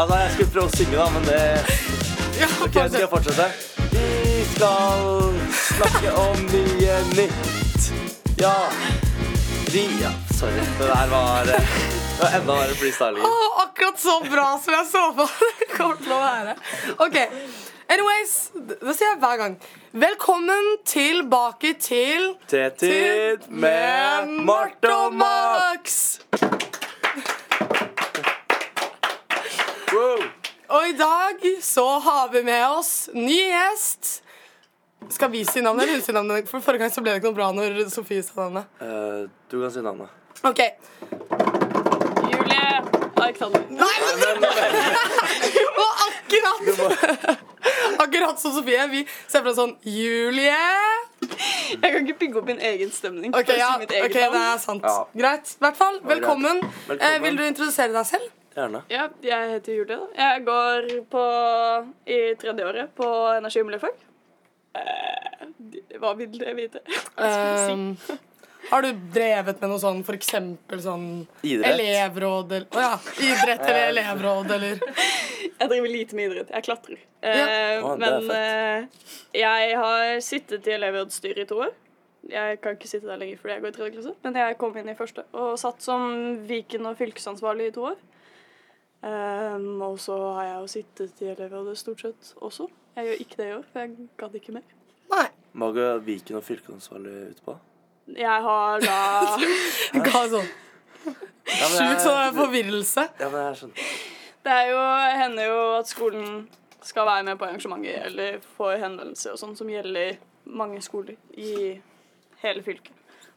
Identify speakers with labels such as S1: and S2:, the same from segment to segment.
S1: Altså, jeg skulle prøve å synge, da, men det
S2: Ja,
S1: Ok, skal jeg fortsette? Vi skal snakke om mye nytt. Ja. Vi ja, Sorry, det der var eh, Det var enda verre freestyling.
S2: Å, akkurat så bra som jeg så på det kommer til å være. Ok, anyways, det sier jeg hver gang. Velkommen tilbake til
S1: Tetid med Marte og Max. Wow.
S2: Og i dag så har vi med oss ny gjest. Skal vi si navnet eller hun si navnet? For Forrige gang så ble det ikke noe bra når Sofie sa navnet.
S1: Eh, du kan si navnet.
S2: Ok,
S3: Julie Alexander.
S2: Nei, men dere Det var akkurat Akkurat som Sofie. Vi ser for oss sånn Julie.
S3: Jeg kan ikke bygge opp min egen stemning.
S2: Ok,
S3: for å si
S2: ja,
S3: mitt eget
S2: ok, det
S3: navn.
S2: er sant.
S1: Ja.
S2: Greit. I hvert fall,
S1: greit.
S2: velkommen. Eh,
S1: Velkommen.
S2: vil du introdusere deg selv?
S1: Gjerne.
S3: Ja, jeg heter Julie. da. Jeg går på, i tredje året på energi- og miljøfag. Eh, de- Hva vil dere vite?
S2: Ehm, har du drevet med noe sånn for eksempel sånn
S1: Idrett. Eh,
S2: elevråd eller Å ja. Idrett eller elevråd eller
S3: Jeg driver lite med idrett. Jeg klatrer. Eh,
S1: Å, det er
S3: men eh, jeg har sittet i elevrådsstyret i to år. Jeg kan ikke sitte der lenger fordi jeg går i tredje klasse, men jeg kom inn i første og satt som Viken og fylkesansvarlig i to år. Ehm, og så har jeg jo sittet i elevrådet stort sett også. Jeg gjør ikke det i år, for jeg gadd ikke mer.
S2: Nei.
S1: Hva går Viken og fylkesansvarlig ut på?
S3: Jeg har da
S2: Jeg Ga en sånn
S1: Ja, men
S2: sjuk
S1: jeg-
S2: sånn forvirrelse.
S1: Ja, men jeg sånn, skjønner.
S3: Det er jo, hender jo at skolen skal være med på arrangementer eller får henvendelser og sånn som gjelder mange skoler i hele fylket.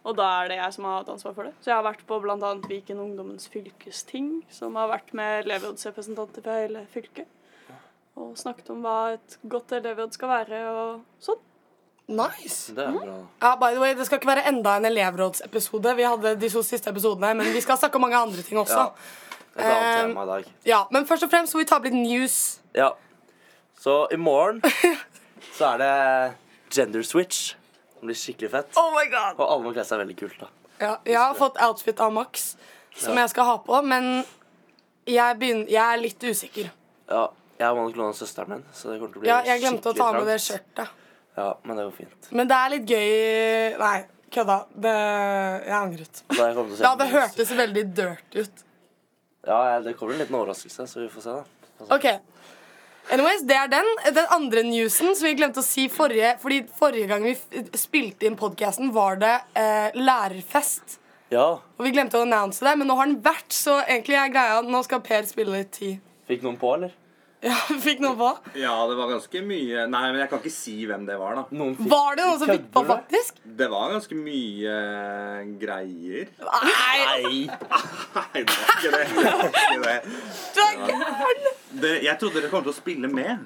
S3: Og da er det jeg som har hatt ansvar for det. Så jeg har vært på bl.a. Viken Ungdommens fylkesting, som har vært med elevrådsrepresentanter fra hele fylket. Og snakket om hva et godt elevråd skal være og sånn.
S2: Nice.
S1: Det er bra.
S2: Ja, by the way, Det skal ikke være enda en elevrådsepisode. Vi hadde de to siste episodene, men vi skal snakke om mange andre ting også.
S1: Ja. Et annet
S2: Ehm,
S1: tema i dag.
S2: Ja, Men først og fremst så må vi ta opp litt news.
S1: Ja. Så i morgen så er det gender switch. Det blir skikkelig fett.
S2: Oh my god
S1: Og alle må kle seg veldig kult, da.
S2: Ja, jeg har fått outfit av Max som jeg skal ha på, men jeg, begynner, jeg er litt usikker.
S1: Ja, jeg må nok låne søsteren min, så det kommer til å bli
S2: Ja, jeg glemte å
S1: skikkelig
S2: ta med det
S1: trangt.
S2: skjørtet.
S1: Ja, men det går fint.
S2: Men det er litt gøy Nei, kødda. Det, jeg angret.
S1: Da jeg kommer til å se
S2: Ja,
S1: på
S2: det
S1: news.
S2: hørtes veldig dirty ut.
S1: Ja, ja, det kommer en liten overraskelse, så vi får se, da. Altså,
S2: OK. Anyways, det er den. Den andre newsen som vi glemte å si forrige Fordi forrige gang vi f- spilte inn podkasten, var det eh, lærerfest.
S1: Ja,
S2: Og vi glemte å annonse det, men nå har den vært, så egentlig er greia Nå skal Per spille litt tid.
S1: Fikk noen på, eller?
S2: Ja, fikk noe på?
S4: Ja, det var ganske mye Nei, men jeg kan ikke si hvem det var, da.
S1: Noen fikk
S2: Var det noen som fikk på,
S1: Kødder du?
S2: faktisk?
S4: Det var ganske mye eh, greier.
S2: Nei,
S1: Nei!
S4: Nei, det var ikke det. Det var ikke det.
S2: du er gæren!
S4: Dere- jeg trodde dere kom til å spille med.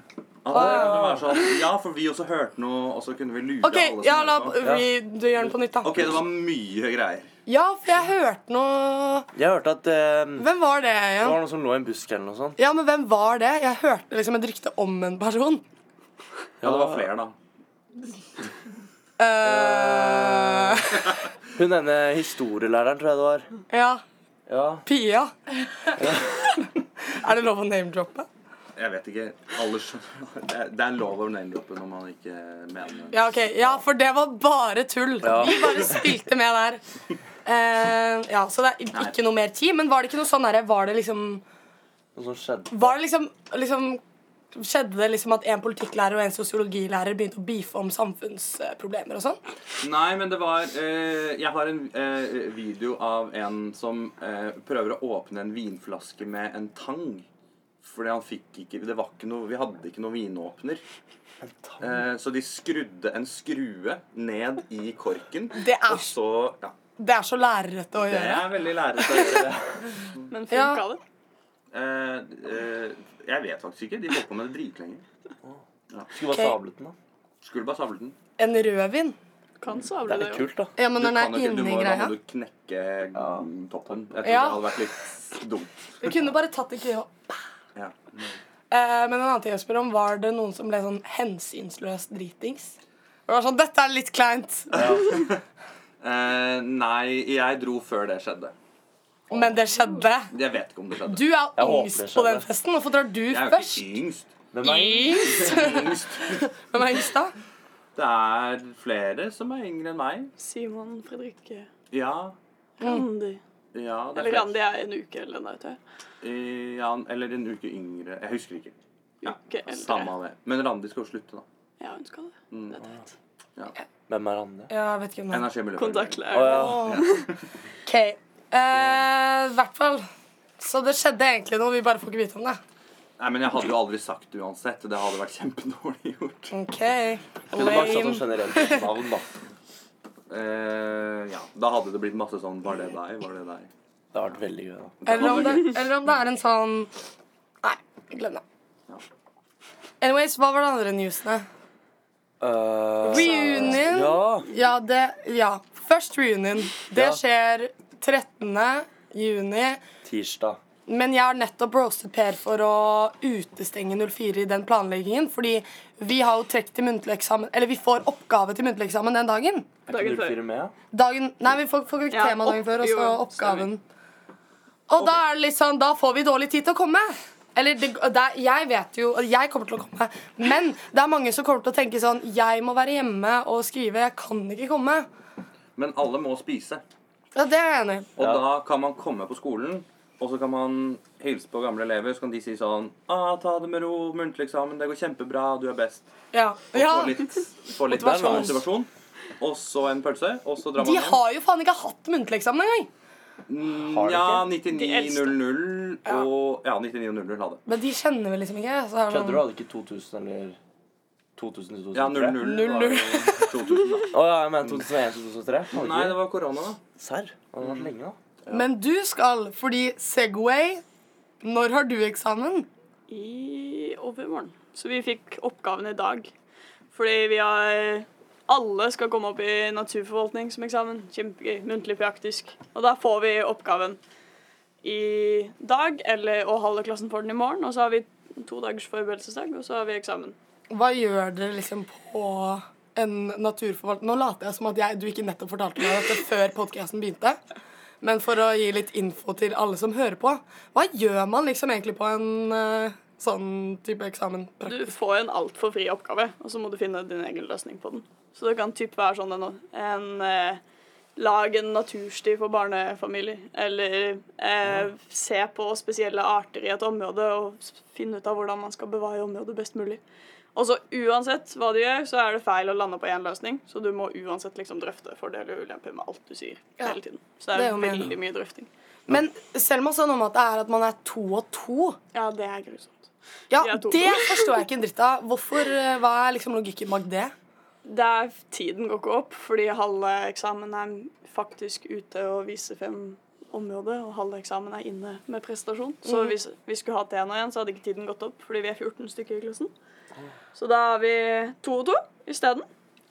S4: At dere kom til å være sånn Ja, for vi også hørte noe, og så kunne vi lure
S2: OK,
S4: alle som
S2: ja, la
S4: hørte på.
S2: vi, du gjør den på nytt, da.
S4: OK, det var mye greier.
S2: Ja, for jeg hørte noe
S1: Jeg hørte at eh, det
S2: Hvem var det
S1: var
S2: igjen?
S1: noen som lå i en busk eller noe sånt.
S2: Ja, men hvem var det? Jeg hørte liksom et rykte om en person.
S4: Ja, det var flere, da.
S2: eh
S1: Hun ene historielæreren, tror jeg det var.
S2: ja.
S1: Ja.
S2: Pia. er det lov å name-droppe?
S4: Jeg vet ikke. Alle skjønner Det er- Det er lov å name-droppe når man ikke mener
S2: Ja, ok. Ja, for det var bare tull.
S1: Ja.
S2: Vi bare spilte med der. Eh, ja, Så det er ikke noe mer tid. Men var det ikke noe sånn herre Var det liksom
S1: Noe som skjedde.
S2: Var det liksom, liksom Skjedde det liksom at en politikklærer og en sosiologilærer begynte å beefe om samfunnsproblemer og sånn?
S4: Nei, men det var eh, Jeg har en eh, video av en som eh, prøver å åpne en vinflaske med en tang. Fordi han fikk ikke Det var ikke noe Vi hadde ikke noen vinåpner. Eh, så de skrudde en skrue ned i korken.
S2: Det er-
S4: Og så Ja.
S2: Det er så lærerete å
S4: Det
S2: gjøre.
S4: er veldig lærete å gjøre det.
S3: Men
S2: Ja.
S3: funka det?
S4: Eh, eh, jeg vet faktisk ikke. De holdt på med det dritlenge.
S1: Skulle bare
S2: Ok.
S1: sablet den, da.
S4: Skulle bare savle den.
S2: En rødvin.
S3: Kan
S1: Det
S3: savle
S1: er
S3: det
S1: litt
S3: jo.
S1: kult, da.
S2: Ja, men
S4: Du
S2: den
S4: kan
S2: er
S4: jo ikke- du
S2: inni
S4: må- Da
S2: greia.
S4: må du knekke
S1: Ja.
S4: mm, toppen. Jeg tror
S2: Ja.
S4: det hadde vært litt dumt.
S2: Vi kunne bare tatt det ikke opp.
S4: Ja.
S2: Eh, men en annen ting jeg spør om, var det noen som ble sånn hensynsløs dritings? Det var sånn, Dette er litt kleint.
S4: Eh, nei, jeg dro før det skjedde.
S2: Men det skjedde.
S4: Jeg vet ikke om det skjedde.
S2: Du er
S1: Jeg håper det
S2: yngst på den
S1: skjedde.
S2: festen. Hvorfor drar du
S4: jeg er jo
S2: først?
S4: ikke yngst.
S1: Hvem er
S4: yngst.
S2: Hvem er yngst, da?
S4: Det er flere som er yngre enn meg.
S3: Simon, Fredrikke,
S4: Ja.
S3: Randi.
S4: Ja, det er
S3: Eller
S4: flere.
S3: Randi er en uke eller noe, tror jeg.
S4: Eh, ja, eller en uke yngre. Jeg husker ikke. Ja,
S3: Uke eldre.
S4: Samme av det. Men Randi skal jo slutte, da.
S3: Ja, hun skal det. Det er teit.
S1: Hvem er Anne?
S2: Ja, jeg vet ikke hvem det er.
S4: Energi og miljø.
S1: Å
S3: Kontaktlærer.
S1: ja.
S2: OK. Eh, I hvert fall. Så det skjedde egentlig noe, vi bare får ikke vite om det.
S4: Nei, men jeg hadde jo aldri sagt det uansett. og Det hadde vært kjempedårlig gjort.
S2: OK.
S1: Kunne bare sagt sånn
S2: Lame.
S1: generelt navn, da.
S4: Eh, ja, Da hadde det blitt masse sånn Var det deg? Var det deg?
S1: Det har vært veldig gøy. da.
S2: Eller om det, eller om det er en sånn Nei, glem det. Anyways, hva var det andre newsene?
S1: Eh,
S2: Reunion.
S1: Ja.
S2: Ja, det Ja. Først reunion.
S1: Ja.
S2: Det skjer 13. juni.
S1: Tirsdag.
S2: Men jeg har nettopp roastet Per for å utestenge 04 i den planleggingen. Fordi vi har jo trekk til muntlig eksamen Eller vi får oppgave til muntlig eksamen den dagen.
S1: Er
S3: Dagen
S1: ikke
S3: før.
S1: 04 med?
S2: Dagen, nei, vi får, får ikke
S3: Ja,
S2: tema dagen
S3: opp-
S2: før, og så
S3: jo,
S2: oppgaven. Og da er det litt sånn, da får vi dårlig tid til å komme. Eller det, det, er- jeg vet jo og Jeg kommer til å komme. Men det er mange som kommer til å tenke sånn Jeg må være hjemme og skrive. Jeg kan ikke komme.
S4: Men alle må spise.
S2: Ja, det er jeg enig
S4: Og
S2: i.
S1: Ja.
S4: da kan man komme på skolen, og så kan man hilse på gamle elever. Så kan de si sånn ah, 'Ta det med ro. Muntlig eksamen. Det går kjempebra. Du er best.'
S2: Ja. ja.
S4: Få litt, få litt
S2: Motivasjon.
S4: motivasjon. Og så en pølse, og så drar man
S2: De
S4: hjem.
S2: har jo faen ikke hatt muntlig eksamen engang.
S1: Har de
S4: Ja,
S1: ikke?
S4: 99.00 og Ja, 99.00 hadde.
S2: Men de kjenner vel liksom ikke. Så er det
S1: Kødder du?
S2: sånn-
S1: Hadde ikke 2000 eller 2000 til 2003?
S4: Ja, 00 var
S2: 00.
S4: jo 2000, da.
S1: Å ja, jeg mener 2001-2003.
S4: Nei, det var korona, da.
S1: Serr? Det har vært lenge, da.
S2: Men du skal, fordi Segway Når har du eksamen?
S3: i overmorgen. Så vi fikk oppgaven i dag. Fordi vi har eh, Alle skal komme opp i naturforvaltning som eksamen. Kjempegøy. Muntlig praktisk. Og da får vi oppgaven i dag, eller, og halve klassen får den i morgen. Og så har vi to dagers forberedelsesdag, og så har vi eksamen.
S2: Hva gjør dere liksom på en naturforvalter? Nå later jeg som at jeg, du ikke nettopp fortalte meg dette før podcasten begynte. Men for å gi litt info til alle som hører på. Hva gjør man liksom egentlig på en eh, sånn type eksamen? Prak-
S3: Du får en altfor fri oppgave, og så må du finne din egen løsning på den. Så det kan typ være sånn en, en eh, Lag en natursti for barnefamilier. Eller eh, se på spesielle arter i et område og s- finne ut av hvordan man skal bevare området best mulig. Og så uansett hva du gjør, så er det feil å lande på én løsning. Så du må uansett liksom drøfte fordeler og ulemper med alt du sier.
S2: Ja.
S3: hele tiden. Så det
S2: Det er
S3: er,
S2: jo meningen.
S3: veldig mye drøfting.
S2: Men Selma sa noe om at det er at man er to og to.
S3: Ja, det er grusomt.
S2: Ja,
S3: Vi er to.
S2: det forstår jeg ikke en dritt av. Hvorfor, eh, hva er liksom logikken bak det?
S3: Det er, tiden går ikke opp, fordi halve eksamen er faktisk ute og viser frem området, og halve eksamen er inne med prestasjon. Så
S1: Mhm.
S3: hvis vi skulle hatt en og en, så hadde ikke tiden gått opp, fordi vi er 14 stykker i klassen.
S1: Ah.
S3: Så da er vi to og to isteden,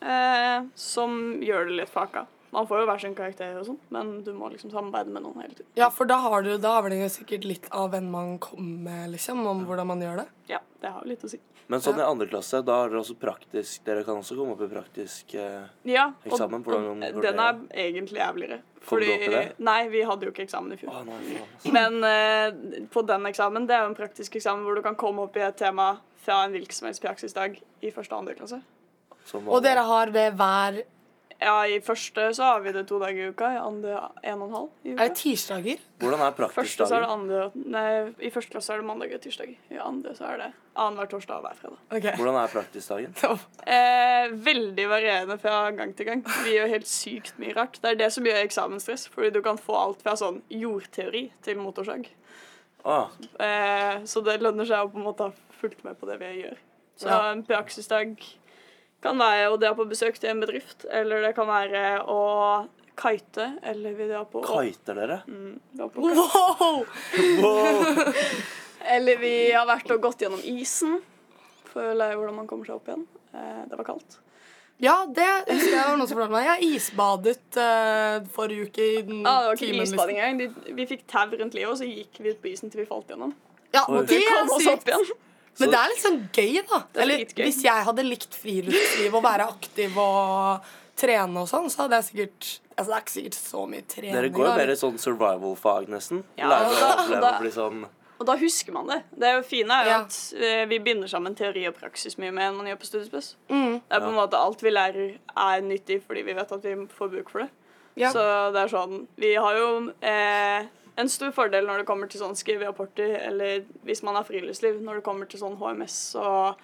S3: eh, som gjør det litt faka. Man får jo hver sin karakter og sånn, men du må liksom samarbeide med noen hele tiden.
S2: Ja, for da har du, da avhenger det sikkert litt av hvem man kommer med, liksom, om hvordan man gjør det.
S3: Ja, det har jo litt å si.
S1: Men sånn i andre klasse, da har dere også praktisk Dere kan også komme opp i praktisk eh,
S3: Ja, og,
S1: Eksamen, hvordan
S3: og
S1: går
S3: den er
S1: det?
S3: egentlig jævligere.
S1: Kom du opp i det?
S3: Nei, vi hadde jo ikke eksamen i fjor.
S1: Å nei, faen. altså. ass.
S3: Men eh, på den eksamen, det er jo en praktisk eksamen hvor du kan komme opp i et tema fra en hvilken som helst praksisdag i første og andre klasse.
S1: Som
S2: Og
S1: vanlig.
S2: dere har det hver
S3: Ja, i første så har vi det to dager i uka, i andre en og en halv i
S2: Er det
S3: uka.
S2: tirsdager?
S1: Hvordan er
S3: Første så er det
S1: praktiskdagen?
S3: andre, nei, I første klasse er det mandag og tirsdag. I andre så er det annenhver torsdag og hver fredag.
S2: Ok.
S1: Hvordan er praktiskdagen?
S3: Eh, veldig varierende fra gang til gang. Vi gjør helt sykt mye rart. Det er det som gjør eksamensstress, fordi du kan få alt fra sånn jordteori til motorsag.
S1: Ah,
S3: Eh, så det lønner seg å på en måte ha fulgt med på det vi gjør. Så
S2: Ja.
S3: en praksisdag kan være å dra på besøk til en bedrift, eller det kan være å kite, eller vi drar på,
S1: kiter dere?
S3: drar på kite.
S2: Wow!
S3: Eller vi har vært og gått gjennom isen for å lære hvordan man kommer seg opp igjen. Eh, det var kaldt.
S2: Ja, det husker jeg var noen som fortalte meg. Jeg isbadet eh, forrige uke i den
S3: Ja, Ah, det var ikke
S2: timen, liksom.
S3: isbading engang. De- Vi fikk tau rundt livet, og så gikk vi ut på isen til vi falt gjennom.
S2: Ja,
S1: Oi.
S2: det
S3: Vi
S2: er
S3: kom oss
S2: sykt.
S3: opp igjen.
S2: Men det er litt sånn gøy, da.
S3: er
S2: Eller
S3: dritgøy.
S2: hvis jeg hadde likt friluftsliv og være aktiv og trene og sånn, så hadde jeg sikkert Altså, det er ikke sikkert så mye trening.
S1: Dere går jo
S2: da.
S1: mer i sånn survival-fag, nesten.
S3: Ja,
S1: Lærer å
S3: da-
S1: overleve
S3: da-
S1: og bli sånn
S3: Og da husker man det. Det er jo fine er jo
S2: Ja.
S3: at eh, vi binder sammen teori og praksis mye mer enn man gjør på studiespes.
S2: Mm.
S3: Det er på en måte alt vi lærer er nyttig fordi vi vet at vi får bruk for det.
S2: Ja.
S3: Så det er sånn Vi har jo eh, en stor fordel når det kommer til sånn skriverapporter, eller hvis man har friluftsliv, når det kommer til sånn HMS og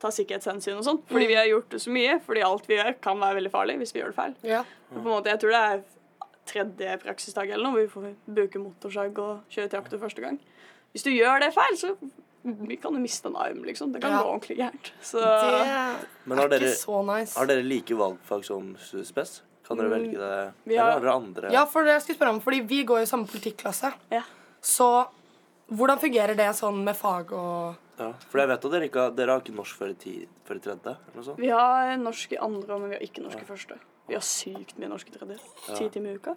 S3: ta sikkerhetshensyn og sånn.
S2: Mm.
S3: Fordi vi har gjort det så mye, fordi alt vi gjør kan være veldig farlig hvis vi gjør det feil.
S2: Ja.
S3: Og på en måte, jeg tror det er tredje praksisdag eller noe, hvor vi får bruke motorsag og kjøre traktor første gang. Hvis du gjør det feil, så kan du miste en arm, liksom. Det kan
S2: Ja.
S3: gå ordentlig gærent. Så
S2: Det
S1: Men har
S2: er
S1: dere,
S2: ikke så nice.
S1: har dere like valgfag som studiespes? Kan dere velge det?
S3: vi
S1: Eller har
S3: har-
S1: dere andre
S2: Ja, for det jeg skulle spørre om, fordi vi går jo i samme politikklasse.
S3: ja.
S2: Så hvordan fungerer det sånn med fag og
S1: Ja, For jeg vet at dere ikke har, dere har ikke norsk før i, ti, før i tredje? Eller noe sånt.
S3: Vi har norsk i andre, men vi har ikke norsk i første. Vi har sykt mye norsk i tredje. Ti timer i uka.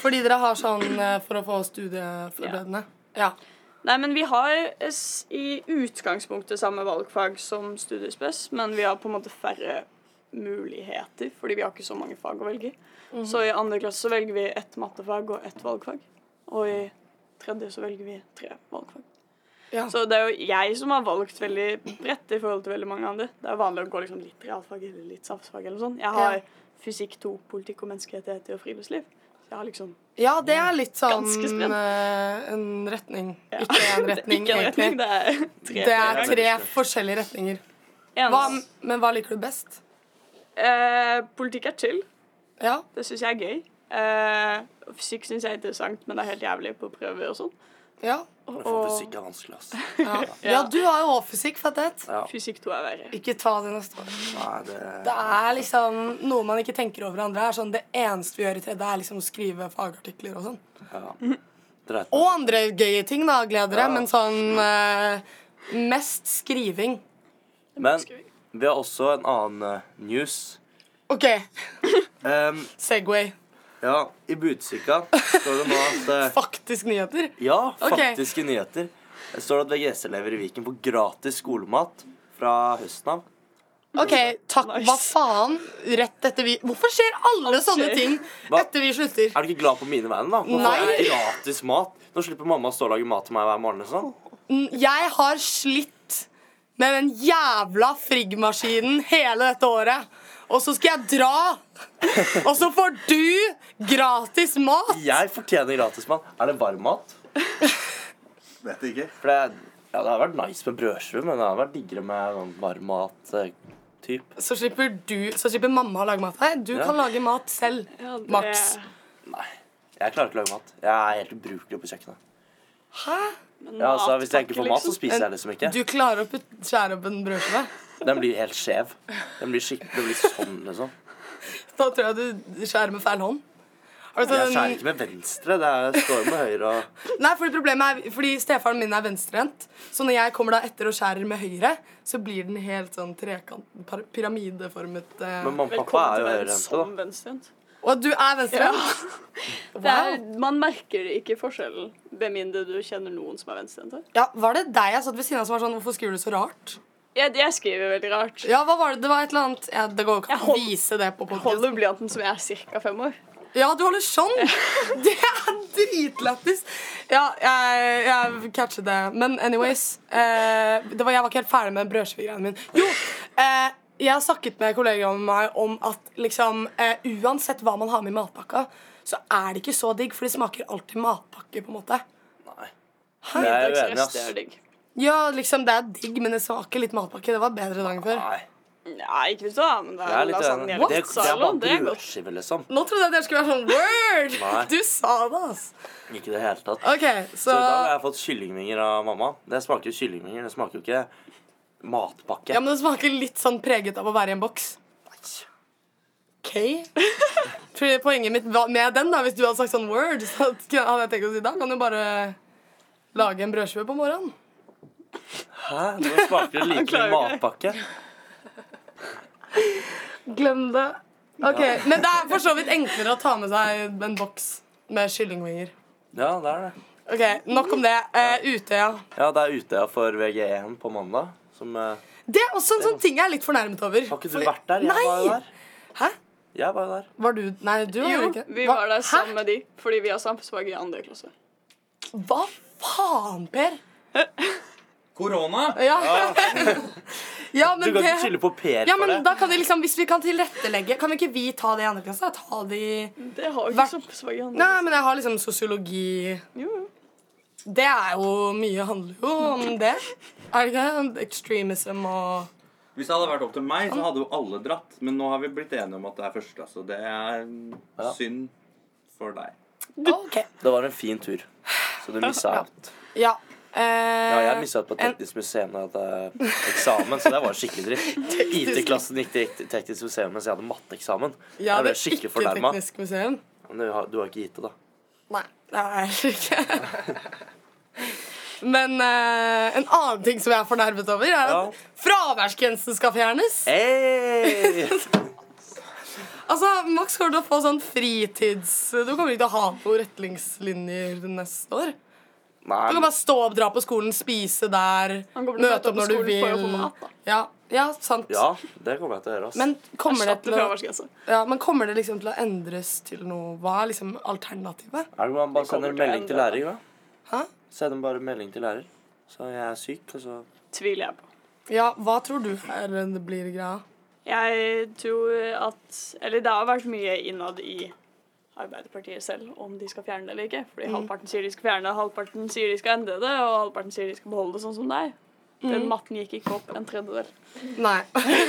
S2: Fordi dere har sånn eh, for å få studieforberedende? Ja.
S3: Nei, men vi har eh, s- i utgangspunktet samme valgfag som studiespes, men vi har på en måte færre muligheter, fordi vi har ikke så mange fag å velge i.
S2: Mhm.
S3: Så i andre klasse så velger vi ett mattefag og ett valgfag, og i tredje så velger vi tre valgfag.
S2: Ja.
S3: Så det er jo jeg som har valgt veldig bredt i forhold til veldig mange andre. Det er vanlig å gå liksom litt realfag eller litt samfunnsfag eller noe sånt. Jeg har
S2: Ja.
S3: fysikk 2, politikk og menneskerettigheter og friluftsliv. Så jeg har liksom
S2: ja, det er litt sånn
S3: Ganske spennende.
S2: eh, en retning.
S3: ja.
S2: Ikke én
S3: Det er
S2: retning,
S3: Ikke en retning,
S2: egentlig.
S3: det er tre.
S2: Det er
S1: retninger.
S2: tre forskjellige retninger.
S3: Eneste-
S2: Hva, men hva liker du best?
S3: Eh, politikk er chill.
S2: Ja.
S3: Det syns jeg er gøy. Eh, fysikk syns jeg er interessant, men det er helt jævlig på prøver og sånn.
S2: Ja.
S3: Og,
S1: For fysikk er vanskelig, ass.
S2: Ja, ja du har jo også fysikk, fattet.
S1: Ja.
S3: fysikk 2 er verre.
S2: Ikke ta det neste år.
S1: Nei, det,
S2: Det er liksom noe man ikke tenker over hverandre. Er sånn, det eneste vi gjør i tredje, er liksom å skrive fagartikler og sånn.
S1: dere er-
S2: Og andre gøye ting, da, gleder dere.
S1: Ja.
S2: Men sånn eh, Mest skriving.
S1: Men vi har også en annen eh, news.
S2: OK,
S1: Em,
S2: Segway.
S1: ja, i Budsykka står det nå at eh,
S2: Faktisk nyheter.
S1: Ja,
S2: Ok.
S1: faktiske nyheter. Det står at VGS-elever i Viken får gratis skolemat fra høsten av.
S2: OK, takk.
S3: Nice.
S2: Hva faen? Rett etter vi Hvorfor skjer alle
S3: Alt
S2: sånne
S3: skjer.
S2: ting
S1: Hva?
S2: etter vi slutter?
S1: Er du ikke glad på mine vegne, da? Nå får
S2: Nei.
S1: jeg gratis mat. Nå slipper mamma å stå og lage mat til meg hver morgen. Liksom.
S2: Mm, Jeg har slitt med den jævla friggmaskinen hele dette året. Og så skal jeg dra! Og så får du gratis mat!
S1: Jeg fortjener gratis mat. Er det varm mat?
S4: Vet ikke.
S1: For det, ja, det hadde vært nice med brødskive, men det hadde vært diggere med sånn varm mat-type.
S2: Så slipper, du, så slipper mamma å lage mat. Nei, du
S1: Ja.
S2: kan lage mat selv.
S3: Ja, det-
S2: Max.
S1: Nei. Jeg klarer ikke å lage mat. Jeg er helt ubrukelig på kjøkkenet.
S2: Hæ?
S3: Men
S1: Ja, altså, hvis jeg
S3: matpakke,
S1: ikke får mat, så
S3: liksom.
S1: spiser jeg liksom ikke.
S2: Du klarer å putt- skjære opp en brødskive?
S1: Den blir helt skjev. Den blir skikkelig den blir sånn, liksom.
S2: Da tror jeg du skjærer med feil hånd. Har du sett
S1: Jeg
S2: den-
S1: skjærer ikke med venstre. Det er, jeg står med høyre og
S2: Nei, fordi problemet er Fordi stefaren min er venstrehendt, så når jeg kommer da etter og skjærer med høyre, så blir den helt sånn trekant par- pyramideformet. eh.
S1: Men mamma og pappa
S3: Velkommen
S1: er
S3: til
S1: jo
S3: verden som
S1: høyrehendte,
S3: venstrehendt.
S2: Og du er venstrehendt?
S3: Det er-
S2: Wow.
S3: Man merker ikke forskjellen, med mindre du kjenner noen som er venstrehendte.
S2: Ja, var det deg jeg satt ved siden av som var sånn Hvorfor skriver du så rart?
S3: Jeg, jeg skriver veldig rart.
S2: Ja, hva var det? Det var et eller annet ja, Det går jo ikke
S3: Jeg
S2: an å
S3: hold-
S2: vise det på podcast
S3: Holder blyanten som jeg er ca. fem år.
S2: Ja, du holder sånn! Det er dritlættis! Ja, jeg, jeg catchet det. Men anyways eh, det var, Jeg var ikke helt ferdig med brødskivegreiene mine. Jo! Eh, jeg har snakket med kolleger om meg om at liksom eh, uansett hva man har med i matpakka, så er det ikke så digg, for det smaker alltid matpakke, på en måte.
S1: da. Nei. Jeg er uenig,
S3: Middagsrest
S1: ass.
S3: det er digg.
S2: Ja, liksom, det er digg, men det smaker litt matpakke. Det var bedre dagen før.
S1: Nei.
S3: Nei, ikke hvis du har men det
S1: Jeg
S3: er
S1: er litt
S3: lasagne
S1: uenig. Det,
S3: eller
S1: det er
S3: pizzalo. Det
S1: bare
S3: er godt.
S1: brødskive, liksom.
S2: Nå trodde jeg dere skulle være sånn word!
S1: Nei.
S2: Du sa det, ass.
S1: Ikke i det hele tatt.
S2: OK,
S1: Så
S2: så
S1: i dag har jeg fått kyllingvinger av mamma. Det smaker jo kyllingvinger. Det smaker jo ikke matpakke.
S2: Ja, men det smaker litt sånn preget av å være i en boks. OK? Tror jeg poenget mitt var med den, da, hvis du hadde sagt sånn word, så hadde jeg tenkt å si da kan du bare lage en brødskive på morgenen.
S1: Hæ? Nå smaker det like mye
S3: klarer ikke.
S1: matpakke.
S2: Glem det. Ok, Men det er for så vidt enklere å ta med seg en boks med kyllingvinger.
S1: Ja, det er det.
S2: Ok, Nok om det. Eh, Utøya.
S1: Ja, det er Utøya for VG1 på mandag. Som eh,
S2: Det er også en sånn ting jeg er litt fornærmet over.
S1: Har ikke du
S2: Fordi-
S1: vært der? Jeg var jo
S2: Nei!
S1: der.
S2: Hæ?
S1: Jeg var jo der.
S2: Var du Nei, du var
S3: Jo,
S2: jo ikke
S3: vi
S2: Hva-
S3: var der
S2: Hæ?
S3: sammen med de, fordi vi har samfunnsfag i andre klasse.
S2: Hva faen, Per?
S5: Korona!
S2: Ja, ja
S1: Du
S2: men
S1: kan ikke
S2: det
S1: skylde på Per
S2: ja,
S1: for
S2: men
S1: det.
S2: da kan de liksom, Hvis vi kan tilrettelegge Kan ikke vi ta det i andre klasse? Ta det i
S3: Det har jo
S2: Hva?
S3: ikke samfunnsfag i andre
S2: Nei, men jeg har liksom sosiologi
S3: Jo, jo.
S2: Det er jo Mye handler jo om det. Er det ikke det? Extremism og
S4: Hvis det hadde vært opp til meg, så hadde jo alle dratt. Men nå har vi blitt enige om at det er første klasse, og det er
S1: Ja.
S4: synd for deg.
S2: OK.
S1: Det var en fin tur, så du missa alt.
S2: Ja. Eh,
S1: Ja, jeg missa alt på Teknisk museum da jeg hadde eksamen, så det var skikkelig dritt. IT-klassen gikk til Teknisk museum mens jeg hadde matteeksamen.
S2: ja,
S1: Jeg ble
S2: det er
S1: skikkelig
S2: ikke
S1: fornærma.
S2: Teknisk museum.
S1: Men du har, du har ikke gitt det, da.
S2: Nei, det er jeg ikke. Men eh, en annen ting som jeg er fornærmet over, er
S1: Ja.
S2: at fraværsgrensen skal fjernes.
S1: Hey!
S2: Altså, Max kommer til å få sånn fritids... Du kommer ikke til å ha noen retningslinjer neste år.
S1: Nei,
S2: Du kan bare stå opp, dra på skolen, spise der,
S3: Han kommer til å møte
S2: møte
S3: opp
S2: opp
S3: på
S2: når du
S3: skolen for å
S2: vil.
S3: få mat, da.
S2: Ja, ja, sant.
S1: ja, det kommer jeg til å gjøre. ass.
S2: Men, kommer det
S3: Erstatte
S2: til å,
S3: fraværsgrense.
S2: ja, men kommer det liksom til å endres til noe? Hva er liksom alternativet?
S1: er det man bare
S3: Det
S1: sender
S3: kommer
S1: en
S3: til å
S1: melding til
S3: endre
S1: lærer, da?
S2: Hæ?
S1: Sender bare en melding til lærer. Så jeg er syk, og så
S3: Tviler jeg på.
S2: Ja, hva tror du er, det blir greia?
S3: Jeg tror at Eller det har vært mye innad i Arbeiderpartiet selv om de skal fjerne det eller ikke.
S2: Mm.
S3: Fordi halvparten sier de skal fjerne det, halvparten sier de skal endre det, og halvparten sier de skal beholde det sånn som det er.
S2: Mm.
S3: Den matten gikk ikke opp en tredjedel.
S2: Nei.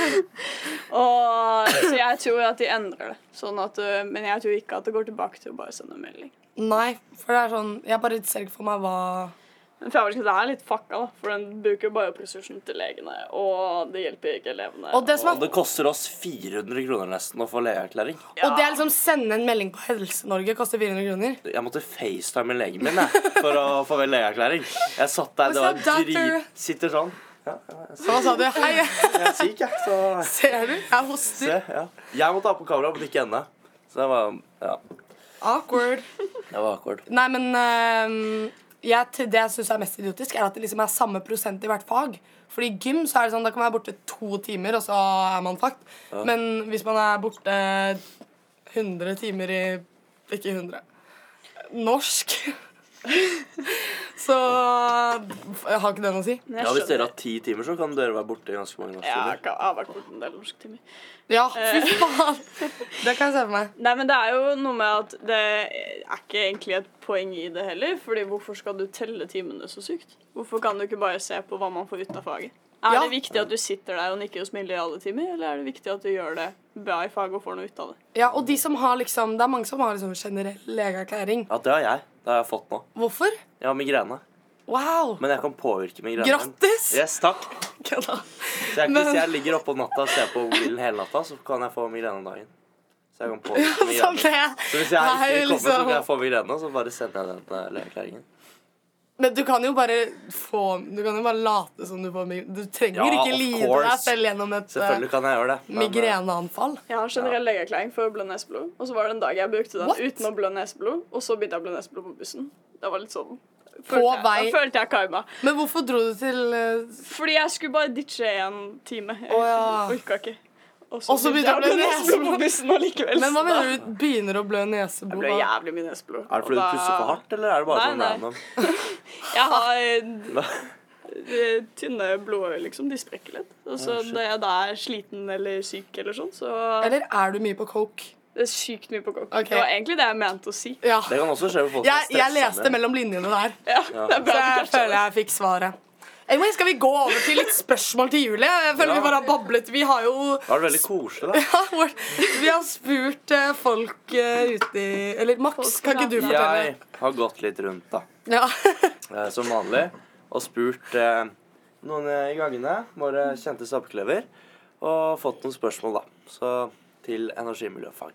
S3: Og, så jeg tror at de endrer det. Sånn at, øh, men jeg tror ikke at det går tilbake til å bare sende en melding.
S2: Nei, for det er sånn Jeg bare ser ikke for meg hva
S3: Men fraværsgrensa er litt fucka, da, for den bruker jo bare opp ressursene til legene. Og det hjelper ikke elevene.
S2: Og det som er-
S1: Det koster oss 400 kroner nesten å få legeerklæring.
S2: Og det er liksom sende en melding på Helse-Norge koster 400 kroner.
S1: Jeg måtte facetime legen min jeg, for å få vel legeerklæring. Jeg satt der, det var
S2: What's up, doctor?
S1: drit... Sitter sånn.
S2: Så hva sa du? Hei, jeg-
S1: Jeg er syk, jeg. Så
S2: ser du? Jeg hoster.
S1: se, ja. Jeg måtte ha på kamera, men ikke henne. Så det var Ja,
S2: Awkward.
S1: det var akkord.
S2: Nei, men øhm, jeg, til det jeg syns er mest idiotisk, er at det liksom er samme prosent i hvert fag. Fordi i gym så er det sånn, da kan man være borte to timer, og så er man fucked. Men hvis man er borte 100 timer i Ikke 100. Norsk. så har ikke det noe å si.
S3: Men jeg
S1: Ja, Hvis
S3: skjønner-
S1: dere har ti timer, så kan dere være borte i ganske mange
S3: Ja, jeg
S1: norsktimer.
S3: kan- jeg har vært borte en del norsktimer.
S2: Ja, fy faen. Det kan jeg se for meg.
S3: Nei, men det er jo noe med at det er ikke egentlig et poeng i det heller. Fordi hvorfor skal du telle timene så sykt? Hvorfor kan du ikke bare se på hva man får ut av faget? Er
S2: Ja.
S3: det viktig at du sitter der og nikker og smiler i alle timer, eller er det viktig at du gjør det bra i faget og får noe ut av det?
S2: Ja, og de som har liksom, Det er mange som har liksom generell legeerklæring.
S1: Ja, det har jeg. Det har jeg fått nå.
S2: Hvorfor?
S1: Jeg har migrene.
S2: Wow!
S1: Men jeg kan påvirke migrenen.
S2: Grattis!
S1: Yes, takk.
S2: Kødda.
S1: Så jeg,
S2: Men-
S1: Hvis jeg ligger oppe om natta og ser på mobilen hele natta, så kan jeg få migrene om dagen. Så jeg kan påvirke
S2: Sånn
S1: migrenen.
S2: det
S1: Så hvis jeg
S2: er
S1: ikke kommer,
S2: jo
S1: så
S2: liksom-
S1: kan jeg få migrene, så bare sender jeg den eh, legeerklæringen.
S2: Men du kan jo bare få Du kan jo bare late som du får migrene. Du trenger
S1: Ja,
S2: ikke
S1: of
S2: lide deg
S1: course.
S2: selv gjennom et
S1: Selvfølgelig
S2: eh,
S1: kan jeg gjøre det. men, eh,
S2: migreneanfall.
S3: Jeg har generell legeerklæring for blå neseblod, og så var det en dag jeg brukte den
S2: What?
S3: uten å blø neseblod, og så begynte jeg å blø neseblod på bussen. Det var litt sånn
S2: På
S3: følte jeg,
S2: vei-
S3: Da følte jeg karma.
S2: Men hvorfor dro du til eh,
S3: Fordi jeg skulle bare ditche en time. Jeg
S2: Å, ja.
S3: orka ikke. Og
S2: Og så begynte jeg å blø
S3: neseblod på bussen allikevel.
S2: Men hva
S3: så da-
S2: mener du? Begynner å blø
S3: Jeg
S2: neseblod?
S3: blør
S2: da?
S3: jævlig mye neseblod.
S1: Er det fordi
S3: Og
S1: du
S3: da-
S1: pusser for hardt, eller er det bare
S3: Nei,
S1: sånn
S3: nei.
S1: random?
S3: Jeg har eh, tynne blodøyer, liksom. De sprekker litt. Og så
S1: Ah, shit.
S3: når jeg da er sliten eller syk eller sånn, så
S2: Eller er du mye på coke?
S3: Det er sykt mye på kokk.
S2: Ok.
S3: Det var egentlig det jeg mente å si.
S2: Ja.
S1: Det kan også skje med folk som
S2: Jeg,
S1: er
S2: jeg
S1: stressa
S2: leste
S1: med.
S2: mellom linjene der.
S3: Ja, det
S2: Så
S3: er bra
S2: jeg
S3: du catcha
S2: føler
S3: det.
S2: jeg fikk svaret. Anyway, skal vi gå over til litt spørsmål til Julie? Jeg føler
S1: Ja.
S2: vi bare har bablet. Vi har jo
S1: Det var veldig koselig, da.
S2: Ja, hvor- Vi har spurt eh, folk eh, ute i Eller Max,
S3: Folk
S2: kan ikke du
S3: på
S2: fortelle?
S1: Jeg har gått litt rundt, da,
S2: Ja.
S1: eh, som vanlig, og spurt eh, noen eh, i gangene, våre kjente stappeklever, og fått noen spørsmål, da. Så til energimiljøfag.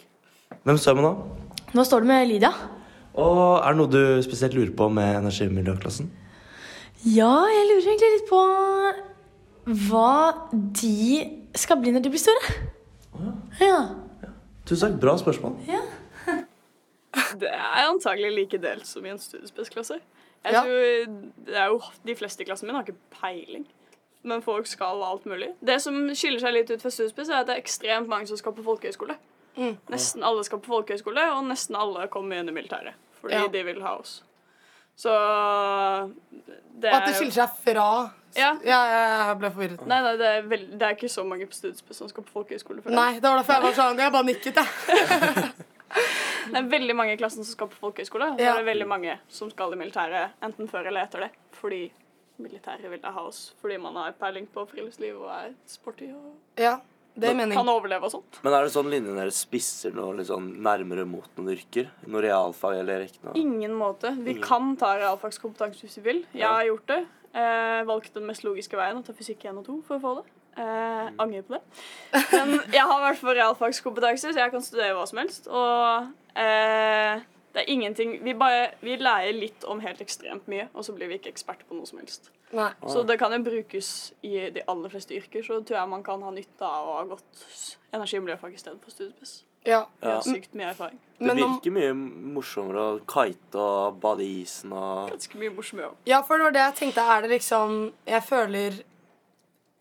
S1: Hvem står med nå?
S6: Nå står du med Lydia.
S1: Og er det noe du spesielt lurer på med energimiljøklassen?
S6: Ja, jeg lurer egentlig litt på hva de skal bli når de blir store. Ja.
S1: Tusen takk. Bra spørsmål.
S3: Det er antagelig like delt som i en studiespesialklasse. Jeg
S2: Ja.
S3: tror det er jo, De fleste i klassen min har ikke peiling, men folk skal alt mulig. Det som skiller seg litt ut fra studiespes, er at det er ekstremt mange som skal på folkehøyskole.
S2: Mm.
S3: Nesten alle skal på folkehøyskole, og nesten alle kommer inn i militæret. Fordi
S2: Ja.
S3: de vil ha oss. Så det
S2: Og at det
S3: er jo-
S2: skiller seg fra
S3: Eh, Ja.
S2: Ja, jeg ble forvirret.
S3: Nei, nei, det er, vel- det er ikke så mange på studiespes som skal på folkehøyskole. føler jeg.
S2: Nei, det var derfor jeg var sånn. Jeg bare nikket, jeg.
S3: Det er veldig mange i klassen som skal på folkehøyskole, og så
S2: Ja.
S3: er det veldig mange som skal i militæret enten før eller etter det. Fordi militæret vil da ha oss fordi man har peiling på friluftsliv og er sporty og
S2: Ja, det er mening.
S3: kan overleve og sånt.
S1: Men er det sånn linjen deres spisser noe litt sånn nærmere mot noen yrker? Noe realfag eller rekna?
S2: Mm,
S3: Ingen måte. Vi kan ta realfagskompetanse hvis vi vil. Jeg har gjort det. Eh, valgte den mest logiske veien å ta fysikk 1 og 2 for å få det. Eh, angrer på det. Men jeg har i hvert fall realfagskompetanse, så jeg kan studere hva som helst. Og eh, det er ingenting Vi bare vi lærer litt om helt ekstremt mye, og så blir vi ikke ekspert på noe som helst.
S2: Nei.
S3: Så det kan jo brukes i de aller fleste yrker, så tror jeg man kan ha nytte av å ha gått energi- og miljøfag istedenfor studiepress.
S2: Ja.
S3: Vi har
S1: Ja.
S3: sykt mye erfaring.
S1: Det
S2: Men om,
S1: virker mye morsommere å kite og bade i isen og
S3: Ganske mye morsomt. jobb.
S2: ja, for det var det jeg tenkte. Er det liksom Jeg føler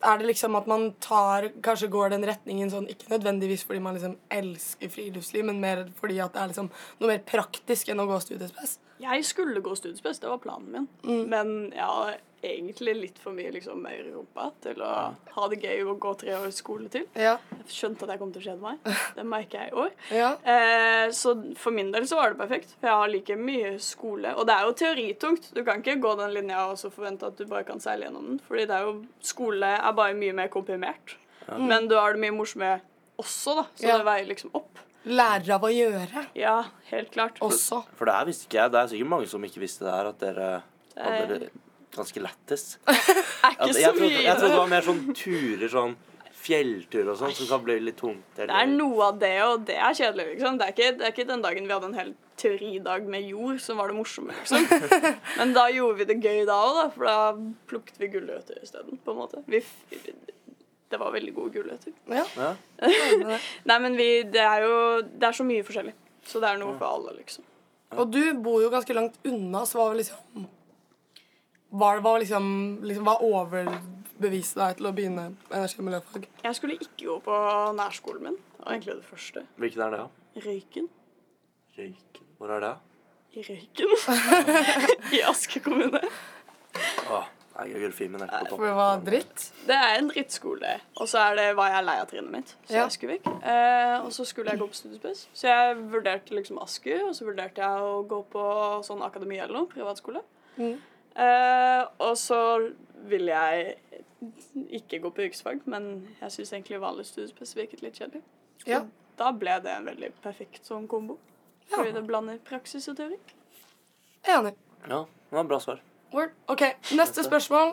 S2: Er det liksom at man tar Kanskje går den retningen sånn Ikke nødvendigvis fordi man liksom elsker friluftsliv, men mer fordi at det er liksom noe mer praktisk enn å gå studiespes.
S3: Jeg skulle gå studiespes, det var planen min.
S1: Mm.
S3: Men jeg har egentlig litt for mye liksom, mer i rumpa til å ha det gøy og gå tre år skole til.
S2: Ja.
S3: Jeg skjønte at jeg kom til å kjede meg. Det merker jeg i år.
S2: Ja.
S3: Eh, så for min del så var det perfekt, for jeg har like mye skole. Og det er jo teoritungt. Du kan ikke gå den linja og så forvente at du bare kan seile gjennom den. Fordi det er jo, skole er bare mye mer komprimert. Mm. Men du har det mye morsommere også, da. Så
S2: Ja.
S3: det veier liksom opp.
S2: Lærer av å gjøre
S3: Ja, helt klart.
S2: også.
S1: For det her visste ikke jeg. Det er sikkert mange som ikke visste det her, at dere
S2: Eh,
S1: hadde det ganske lættis.
S3: er ikke
S1: At
S3: så
S1: Altså, jeg, trodde,
S3: mye i
S1: jeg trodde
S3: det.
S1: det var mer sånn turer, sånn fjelltur og sånn, som kan bli litt tungt.
S3: Det er
S1: Eller.
S3: noe av det, og det er kjedelig, liksom. Det er ikke, det er ikke den dagen vi hadde en hel teoridag med jord som var det morsomme, liksom. Men da gjorde vi det gøy da òg, da, for da plukket vi gulrøtter isteden, på en måte. Vi, f- det var veldig gode gulrøtter.
S2: Ja.
S1: Ja.
S3: Nei, men vi Det er jo Det er så mye forskjellig. Så det er noe for alle, liksom.
S2: Og du bor jo ganske langt unna, så hva var liksom Hva var liksom, liksom Hva overbeviste deg til å begynne energi- og miljøfag?
S3: Jeg skulle ikke gå på nærskolen min, og egentlig det første.
S1: Hvilken er det, da?
S3: Røyken.
S1: Røyken. Hvor er det? da?
S3: I Røyken. I Aske kommune.
S1: Åh, nei, geografien min er ikke på
S2: For
S1: topp.
S2: det var dritt?
S3: Det er en drittskole, og så er det hva jeg er lei av trinnet mitt. Så
S2: Ja.
S3: jeg skulle vekk. Eh, og så skulle jeg gå på studiespes. Så jeg vurderte liksom Asker, og så vurderte jeg å gå på sånn akademi eller noe, privatskole.
S2: Mm.
S3: Eh, og så ville jeg ikke gå på yrkesfag, men jeg syns egentlig vanlig studiespes virket litt kjedelig.
S2: Ja.
S3: Da ble det en veldig perfekt sånn kombo. Fordi det blander praksis og teori.
S2: Enig.
S1: Ja, det var bra svar.
S2: Word. OK, neste spørsmål.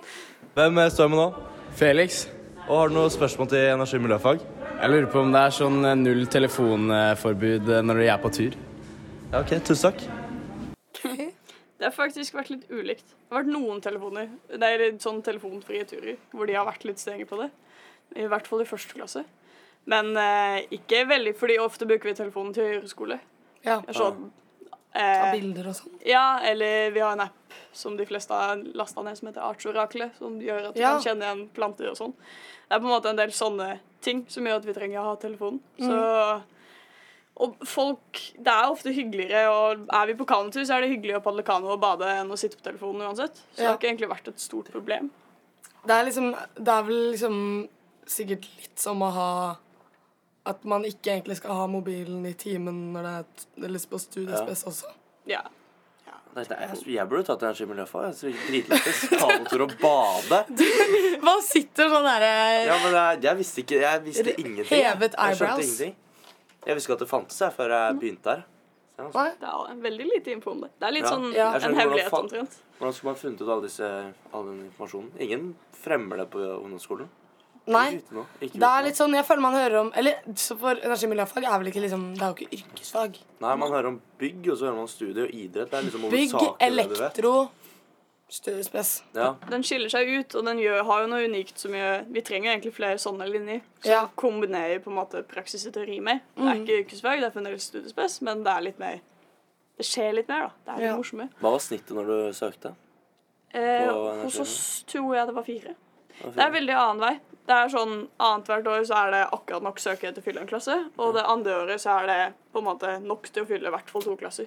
S7: Hvem eh, står med nå?
S8: Felix,
S7: Og har du noen spørsmål til energi- og miljøfag?
S8: jeg lurer på om det er sånn eh, null telefonforbud eh, når jeg er på tur.
S7: Ja, ok, tusen takk.
S3: Det har faktisk vært litt ulikt. Det har vært noen telefoner, det er litt sånn telefonfrie turer, hvor de har vært litt strenge på det. I hvert fall i første klasse. Men eh, ikke veldig, fordi ofte bruker vi telefonen til høyreskole.
S2: Ja.
S3: Sånn.
S2: Ta
S3: Eh,
S2: bilder og sånn.
S3: ja, eller vi har en app som de fleste har lasta ned, som heter Artsoraklet, som gjør at du
S2: Ja.
S3: kan kjenne igjen planter og sånn. Det er på en måte en del sånne ting som gjør at vi trenger å ha telefonen.
S2: Mm.
S3: Så, og folk Det er ofte hyggeligere, og er vi på kanotur, så er det hyggelig å padle kano og bade enn å sitte på telefonen uansett. Så
S2: Ja.
S3: det har ikke egentlig vært et stort problem.
S2: Det er liksom Det er vel liksom sikkert litt som å ha At man ikke egentlig skal ha mobilen i timen når det er t- eller på studiespes også.
S3: Ja.
S1: Nei, det er, jeg burde tatt energi- og miljøfag. Jeg synes det er dritlættis. Kanotur og bade.
S2: Man sitter sånn derre
S1: Ja, men jeg, jeg visste ikke Jeg visste ingenting. jeg.
S2: Hevet
S1: Jeg skjønte
S2: eyebrows.
S1: ingenting. Jeg visste ikke at det fantes jeg, før jeg begynte her.
S3: Det er veldig lite info om det. Det er litt
S1: Ja.
S3: sånn
S2: Ja.
S1: Jeg skjønner
S3: en
S1: hvordan
S3: hemmelighet
S1: faen-
S3: omtrent.
S1: Hvordan skulle man funnet ut all, disse, all den informasjonen? Ingen fremmer det på ungdomsskolen.
S2: Nei.
S1: Ikke ute nå. Ikke
S2: Det er
S1: ute nå.
S2: litt sånn, jeg føler man hører om Eller så for energi- og miljøfag er vel ikke liksom Det er jo ikke yrkesfag.
S1: Nei, man hører om bygg, og så hører man studie og idrett. Det er liksom
S2: Bygg,
S1: hovedsakelig det du vet.
S2: elektro, studiespes.
S1: Ja.
S3: den skiller seg ut, og den gjør, har jo noe unikt som gjør Vi trenger jo egentlig flere sånne linjer. Så
S2: Ja.
S3: kombinerer på en måte praksis og teori med. Det er ikke yrkesfag, det er fremdeles studiespes, men det er litt mer Det skjer litt mer, da. Det er litt
S2: Ja.
S3: morsommere.
S1: Hva var snittet når du søkte?
S3: Eh,
S1: Og
S3: hos
S1: energi-
S3: oss tror jeg det var fire.
S1: Det var
S3: Det
S1: fire.
S3: er veldig annen vei. Det er sånn Annethvert år så er det akkurat nok søkere til å fylle en klasse. Og det andre året så er det på en måte nok til å fylle i hvert fall to klasser.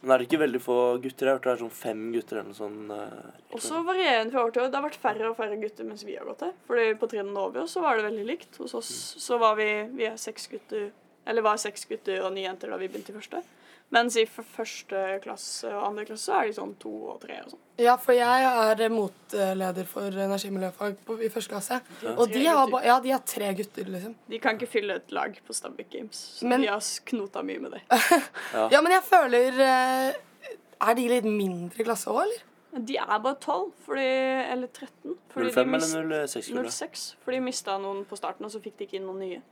S1: Men er det ikke veldig få gutter? Jeg har hørt det er sånn fem gutter eller noe sånt. eh,
S3: Også varierende fra år til år. Det har vært færre og færre gutter mens vi har gått her. Fordi på trinnene over oss så var det veldig likt. Hos oss så var vi vi er seks gutter, eller var seks gutter og ni jenter da vi begynte i første. Mens i f- første klasse og andre klasse så er de sånn to og tre og sånn.
S2: Ja, for jeg er motleder for energi- og miljøfag på, i første klasse. Og de har, ba, ja, de har tre gutter, liksom.
S3: De kan ikke fylle et lag på Stabæk Games. Så
S2: Men-
S3: de har s- knota mye med det.
S2: Ja, men jeg føler eh, Er de litt mindre i klasse òg, eller?
S3: De er bare tolv, eller 13. Fordi de
S1: 05
S3: mist-
S1: eller 06-skole?
S3: 06, for de mista noen på starten, og så fikk de ikke inn noen nye.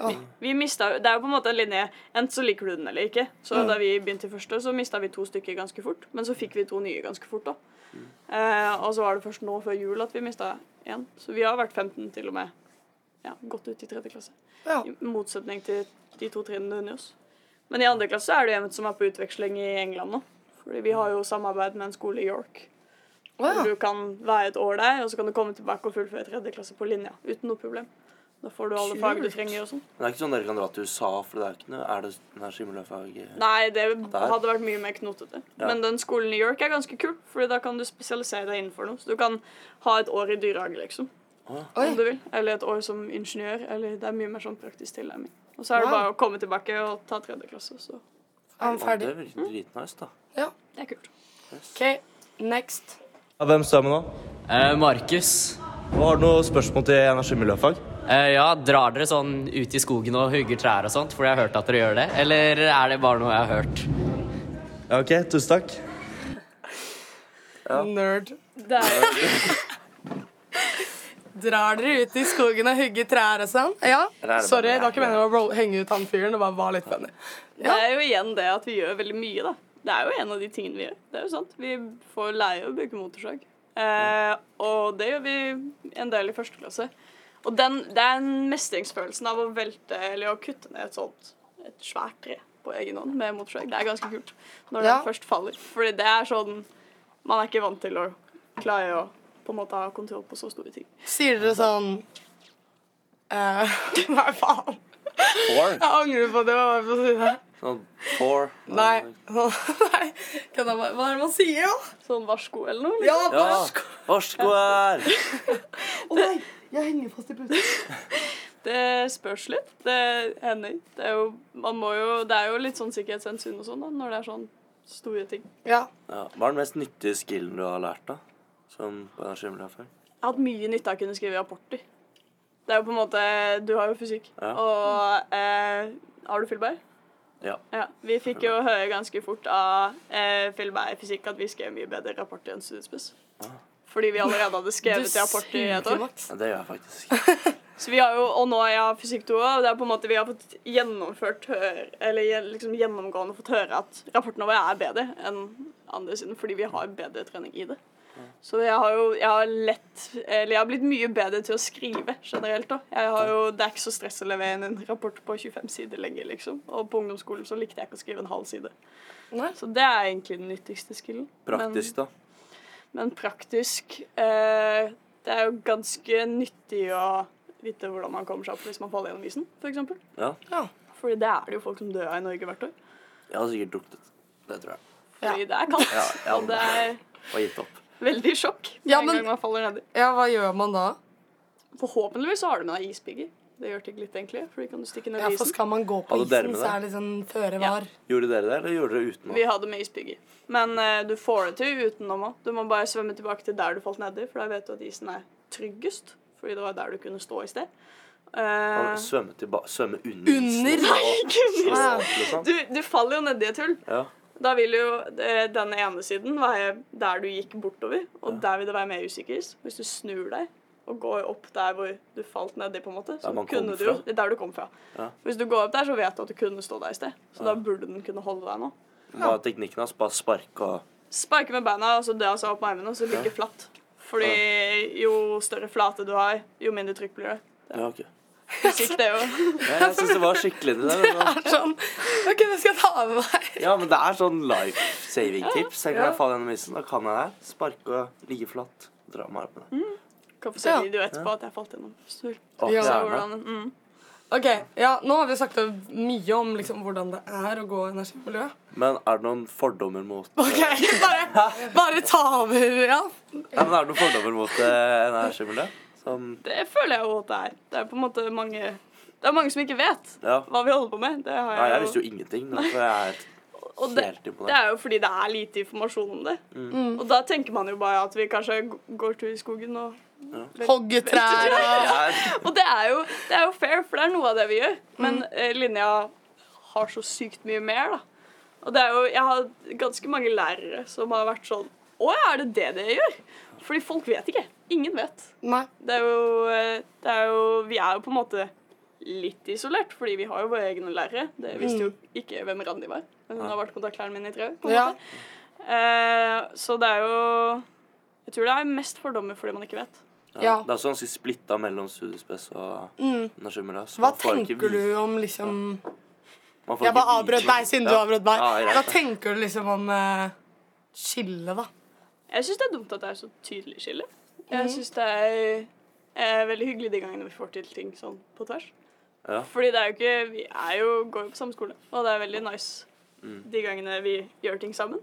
S3: Vi, vi mistet- Det er jo på en måte en linje. Enten så liker du den eller ikke. Så da vi begynte i første, så mista vi to stykker ganske fort. Men så fikk vi to nye ganske fort, da. Eh, og så var det først nå før jul at vi mista én. Så vi har vært 15 til og med. Ja, Gått ut i tredje klasse.
S2: Ja.
S3: I motsetning til de to trinnene under oss. Men i andre klasse er det en som er på utveksling i England nå. Fordi vi har jo samarbeid med en skole i York.
S2: Å,
S3: Hvor
S2: ja.
S3: du kan være et år der, og så kan du komme tilbake og fullføre tredje klasse på linja. Uten noe problem. Da får du alle fag du
S2: Kult.
S3: trenger og sånn.
S1: Men det er ikke sånn dere kan dra til USA, for det er ikke noe Er det energi- og miljøfag eh?
S3: Nei, det
S1: Der.
S3: hadde vært mye mer knotete.
S1: Ja.
S3: Men den skolen i York er ganske kul, Fordi da kan du spesialisere deg innenfor noe. Så du kan ha et år i dyrehage, liksom.
S2: Oi.
S3: Om du vil. Eller et år som ingeniør. Eller det er mye mer sånn praktisk tilnærming. Og så er det
S2: Wow.
S3: bare å komme tilbake og ta tredje klasse, så
S2: Er han
S1: Å, Det
S2: ferdig?
S1: virker
S3: Mm.
S1: dritnice, da.
S3: det er kult.
S2: OK, next.
S7: Ja, hvem står med nå?
S9: Eh, Markus,
S7: Og har du noe spørsmål til energi- og miljøfag?
S9: eh, ja, drar dere sånn ut i skogen og hugger trær og sånt? Fordi jeg har hørt at dere gjør det. Eller er det bare noe jeg har hørt?
S7: Ja, ok, tusen takk.
S2: Nerd.
S3: Det er,
S2: Drar dere ut i skogen og hugger trær og sånn? Ja.
S1: Eller er det
S2: Sorry,
S1: bare-
S2: det var ikke meningen å roll- henge ut han fyren. Det bare var litt funny.
S3: det er jo igjen det at vi gjør veldig mye, da. Det er jo en av de tingene vi gjør. Det er jo sant. Vi får lære å bruke motorsag. Eh, og det gjør vi en del i første klasse. Og den, det er den mestringsfølelsen av å velte eller å kutte ned et sånt et svært tre på egen hånd med motorsag. Det er ganske kult når
S2: Ja.
S3: den først faller. Fordi det er sånn Man er ikke vant til å klare å på en måte ha kontroll på så store ting.
S2: Sier dere sånn eh, Nei, faen.
S1: Four?
S2: Jeg angrer på at jeg var med på å si det.
S1: Sånn four?
S2: Nei. Nei. Kan jeg bare, hva er det man sier, da?
S3: Sånn varsko eller noe.
S2: Ja,
S1: Ja.
S2: bare
S1: Varsko her!
S2: Å nei, jeg henger fast i puta.
S3: Det spørs litt. Det hender. Det er jo, man må jo, det er jo litt sånn sikkerhetshensyn og sånn da, når det er sånn store ting.
S2: Ja.
S1: Ja. Hva er den mest nyttige skillen du har lært, da? Som på energi- og miljøfag?
S3: Jeg har hatt mye nytte av å kunne skrive rapporter. Det er jo på en måte Du har jo fysikk.
S1: Ja.
S3: Og eh, har du Fyllberg?
S1: Ja.
S3: Ja, Vi fikk jo høre ganske fort av eh, Fyllberg i fysikk at vi skrev mye bedre rapporter enn Studiespes.
S1: Ah.
S3: Fordi vi allerede hadde skrevet rapporter i et år.
S1: Ja, Det gjør jeg faktisk.
S3: Så vi har jo, og nå er jeg fysikk 2, og det er på en måte vi har fått gjennomført hør, eller gjen- liksom gjennomgående fått høre at rapportene våre er bedre enn andre siden, fordi vi har bedre trening i det. Så jeg har jo jeg har lett, eller jeg har blitt mye bedre til å skrive generelt. da. Jeg har jo, Det er ikke så stress å levere inn en rapport på 25 sider lenger, liksom. Og på ungdomsskolen så likte jeg ikke å skrive en halv side.
S2: Nei.
S3: Så det er egentlig den nyttigste skillen. Men-
S1: Praktisk, da.
S3: men praktisk eh, Det er jo ganske nyttig å vite hvordan man kommer seg opp hvis man faller gjennom isen, f.eks. For eksempel.
S1: Ja.
S3: Fordi det er det jo folk som dør av i Norge hvert år.
S1: Jeg har sikkert druknet. Det tror jeg.
S3: Fordi det er kaldt,
S1: Ja, ja.
S3: og det er
S1: Og gitt opp.
S3: veldig sjokk med
S2: Ja,
S3: en
S2: men-
S3: gang man faller nedi.
S2: Ja, hva gjør man da?
S3: Forhåpentligvis så har du med deg ispigger. Det gjør det ikke litt, egentlig, for de kan du stikke ned
S2: Ja,
S3: i
S2: for
S3: isen.
S2: skal man gå på
S1: Hadde dere
S2: isen,
S1: med
S2: så
S1: det?
S2: er det sånn føre var.
S1: Gjorde dere det, eller gjorde dere uten?
S3: Vi hadde med ispigger. Men eh, du får det til utenom òg. Du må bare svømme tilbake til der du falt nedi, for da vet du at isen er tryggest. Fordi det var der du kunne stå i sted. Eh,
S1: Svømme, tilba- svømme under isen?
S2: Under?
S3: kunne
S1: Ja, liksom.
S3: Du, du faller jo nedi et hull.
S1: Ja.
S3: Da vil jo eh, den ene siden være der du gikk bortover, og der vil det være mer usikker is. Hvis du snur deg og går opp der hvor du falt nedi, på en måte, så
S1: man kom
S3: kunne du jo
S1: fra.
S3: det er Der du kom fra.
S1: Ja.
S3: Hvis du går opp der, så vet du at du kunne stå der i sted. Så da burde den kunne holde deg nå.
S1: Hva er teknikken hans? Bare sparke og
S3: Sparke med beina og så dra seg opp med armene, og så ligge flatt. Fordi jo større flate du har, jo mindre trykk blir det.
S1: Ja, ok.
S3: Fysikk, det er jo
S1: Ja, jeg syns det var skikkelig det der. men-
S2: Det er sånn OK, det skal jeg ta med meg.
S1: Ja, men det er sånn life saving tips. Jeg kan jeg falle gjennom isen, da kan jeg det. Sparke og ligge flatt. Dra meg opp med det.
S3: Kan få se
S2: Ja.
S3: video etterpå at jeg falt gjennom. Snurr.
S4: Å,
S2: Ja.
S3: Så
S4: gjerne.
S3: hvordan, mm.
S2: Ok, ja, Nå har vi snakket mye om liksom, hvordan det er å gå energimiljø.
S1: Men er det noen fordommer mot
S2: Ok, bare, bare ta over. Ja.
S1: Ja, men Er det noen fordommer mot eh, energimiljø? Som
S3: Det føler jeg jo at det er. Det er på en måte mange Det er mange som ikke vet
S1: Ja.
S3: hva vi holder på med. Det har
S1: Nei,
S3: jeg,
S1: jeg visste jo ingenting. Derfor er
S3: og
S1: jeg
S3: det,
S1: helt Mm.
S3: det
S1: imponert.
S3: er jo fordi det er lite informasjon om det. Og da tenker man jo bare at vi kanskje g- går tur i skogen og
S2: Hogge trær og
S1: Jeg
S3: Og det er, jo, det er jo fair, for det er noe av det vi gjør. Men eh, linja har så sykt mye mer, da. Og det er jo, jeg har ganske mange lærere som har vært sånn Å ja, er det det dere gjør? Fordi folk vet ikke. Ingen vet.
S2: Nei.
S3: Det er jo, eh, det er jo Vi er jo på en måte litt isolert, fordi vi har jo våre egne lærere. Det visste jo ikke hvem Randi var, men hun har vært kontaktlæreren min i tre år. på en
S2: Ja.
S3: måte. Eh, så det er jo Jeg tror det er mest fordommer fordi man ikke vet.
S1: ja.
S2: Ja. Mm.
S1: Det er også ganske splitta mellom studiespes og energimiljø. så
S2: Hva
S1: man får ikke
S2: tenker du
S1: vite-
S2: om liksom
S1: man får
S2: Jeg
S1: ikke
S2: bare
S1: vite-
S2: avbrøt deg siden du
S1: Ja.
S2: avbrøt
S1: Ja,
S2: meg.
S1: greit.
S2: Hva tenker du liksom om uh, skillet, da?
S3: Jeg syns det er dumt at det er så tydelig skille. Jeg syns det er, eh, veldig hyggelig de gangene vi får til ting sånn på tvers.
S1: Ja.
S3: Fordi det er jo ikke Vi er jo, går jo på samme skole, og det er veldig nice de gangene vi gjør ting sammen.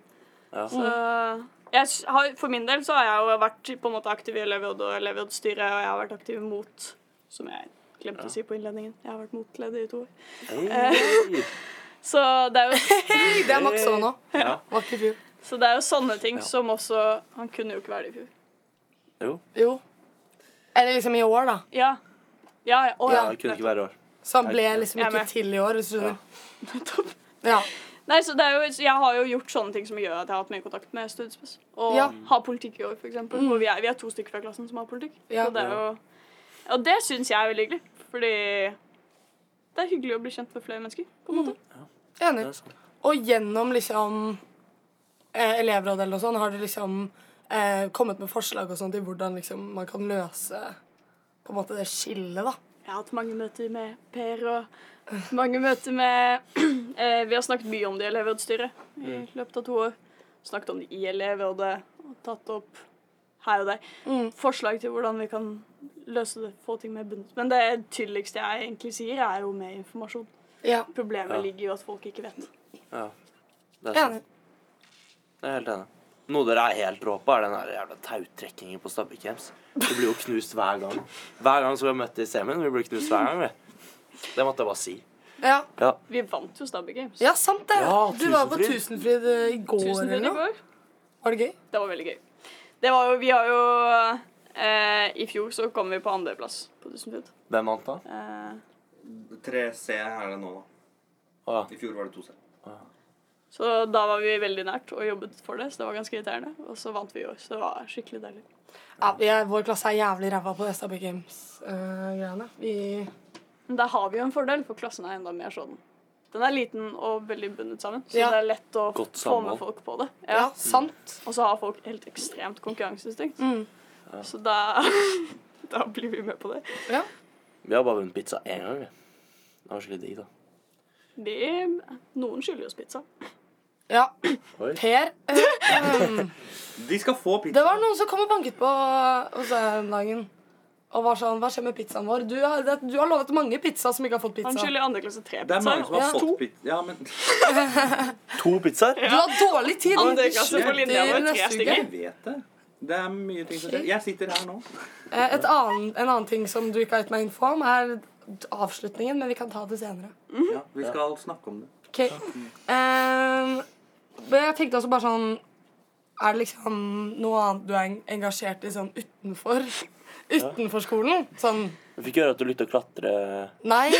S1: Mm. Ja.
S3: Så jeg s- har, for min del så har jeg jo vært på en måte aktiv i elevrådet og elevrådsstyret, og jeg har vært aktiv mot, som jeg glemte å si på innledningen, jeg har vært motleder i to år.
S1: Hey.
S3: Så det er jo
S2: Hei, det er Max òg nå.
S1: Ja.
S2: Var ikke i fjor.
S3: Så det er jo sånne ting som også Han kunne jo ikke være det i fjor.
S2: Jo. Eller liksom i år, da.
S3: Ja. Ja, ja. Å,
S1: Ja,
S3: ja.
S1: det kunne ikke være rart.
S2: Så han ble liksom
S3: Jeg er
S2: ikke
S3: med.
S2: til i år, hvis du skjønner.
S3: Nettopp.
S2: Ja.
S3: Nei, så det er jo, så Jeg har jo gjort sånne ting som gjør at jeg har hatt mye kontakt med studiespes. Og
S2: Ja.
S3: har politikk i år, f.eks. Mm. Og vi er, vi er to stykker fra klassen som har politikk.
S2: Ja.
S3: Så det er jo, og det syns jeg er veldig hyggelig. Fordi det er hyggelig å bli kjent med flere mennesker. på en måte.
S2: Enig.
S1: Det er sant.
S2: Og gjennom liksom eh, elevrådet eller noe sånt, har du liksom eh, kommet med forslag og sånt til hvordan liksom man kan løse på en måte det skillet, da.
S3: Jeg har hatt mange møter med Per og mange møter med eh, Vi har snakket mye om det i elevrådsstyret i løpet av to år. Snakket om det i elevrådet og tatt opp her og der. Forslag til hvordan vi kan løse det, få ting mer bundet. Men det tydeligste jeg egentlig sier, er jo mer informasjon.
S2: Ja.
S3: Problemet
S1: Ja.
S3: ligger jo at folk ikke vet.
S1: Det er sant.
S2: Enig.
S1: Jeg er helt enig. Noe dere er helt rå på, er den der jævla tautrekkingen på Stabbekjems. Vi blir jo knust hver gang. Hver gang som vi har møtt i semien, vi blir knust hver gang. vi. Det måtte jeg bare si.
S2: Ja,
S1: Ja.
S3: Vi vant jo Stabby Games.
S2: ja sant det.
S1: Ja,
S2: du var på
S1: Tusenfryd.
S2: Tusenfryd eh, i går
S3: Tusen
S2: eller
S3: takk i
S2: noe.
S3: går.
S2: Var det gøy?
S3: Det var veldig gøy. Det var jo Vi har jo eh, I fjor så kom vi på andreplass på Tusenfryd.
S1: Hvem vant da?
S3: Eh,
S5: 3C er det nå, da.
S1: Å,
S5: I fjor var det 2C.
S3: Så da var vi veldig nært og jobbet for det, så det var ganske irriterende. Og så vant vi i år, så det var skikkelig deilig.
S2: Ja, vi er, Vår klasse er jævlig ræva på Stabby Games-greiene. eh, vi
S3: Men der har vi jo en fordel, for klassen er enda mer sånn. Den er liten og veldig bundet sammen, så
S2: Ja.
S3: det er lett å
S1: Godt
S3: få med
S1: samhold.
S3: folk på det.
S2: ja,
S3: Ja.
S2: sant.
S3: Og så har folk helt ekstremt konkurranseinstinkt.
S2: Mm.
S3: Så da, da blir vi med på det.
S2: Ja.
S1: Vi har bare vunnet pizza én gang, vi. Det var skikkelig digg, da.
S3: Vi, noen skylder oss pizza.
S2: ja.
S1: Oi.
S2: Per eh,
S5: De skal få pizza.
S2: Det var noen som kom og banket på hos deg den dagen. Og var sånn, hva skjer med pizzaen vår? Du har, det, du har lovet mange pizza som ikke har fått pizza.
S3: Han skylder i andre klasse
S5: Det
S3: tre
S5: er
S3: pizza.
S5: mange som har
S2: Ja,
S5: fått
S2: to.
S5: pizza. Ja, men
S1: To pizzaer?
S2: Du har dårlig tid!
S3: Andre klasse på
S5: Shit.
S3: linja var
S2: Neste
S3: tre
S2: uke.
S3: stykker.
S5: jeg vet det. Det er mye ting som skjer. Jeg sitter her nå.
S2: Eh, Et annen, en annen ting som du ikke har gitt meg info om, er avslutningen, men vi kan ta det senere.
S5: Ja, vi skal snakke om det.
S2: Ok. Ehm, men jeg tenkte også bare sånn Er det liksom noe annet du er engasjert i sånn utenfor? Utenfor skolen? Sånn
S1: Vi fikk høre at du likte å klatre
S2: Nei,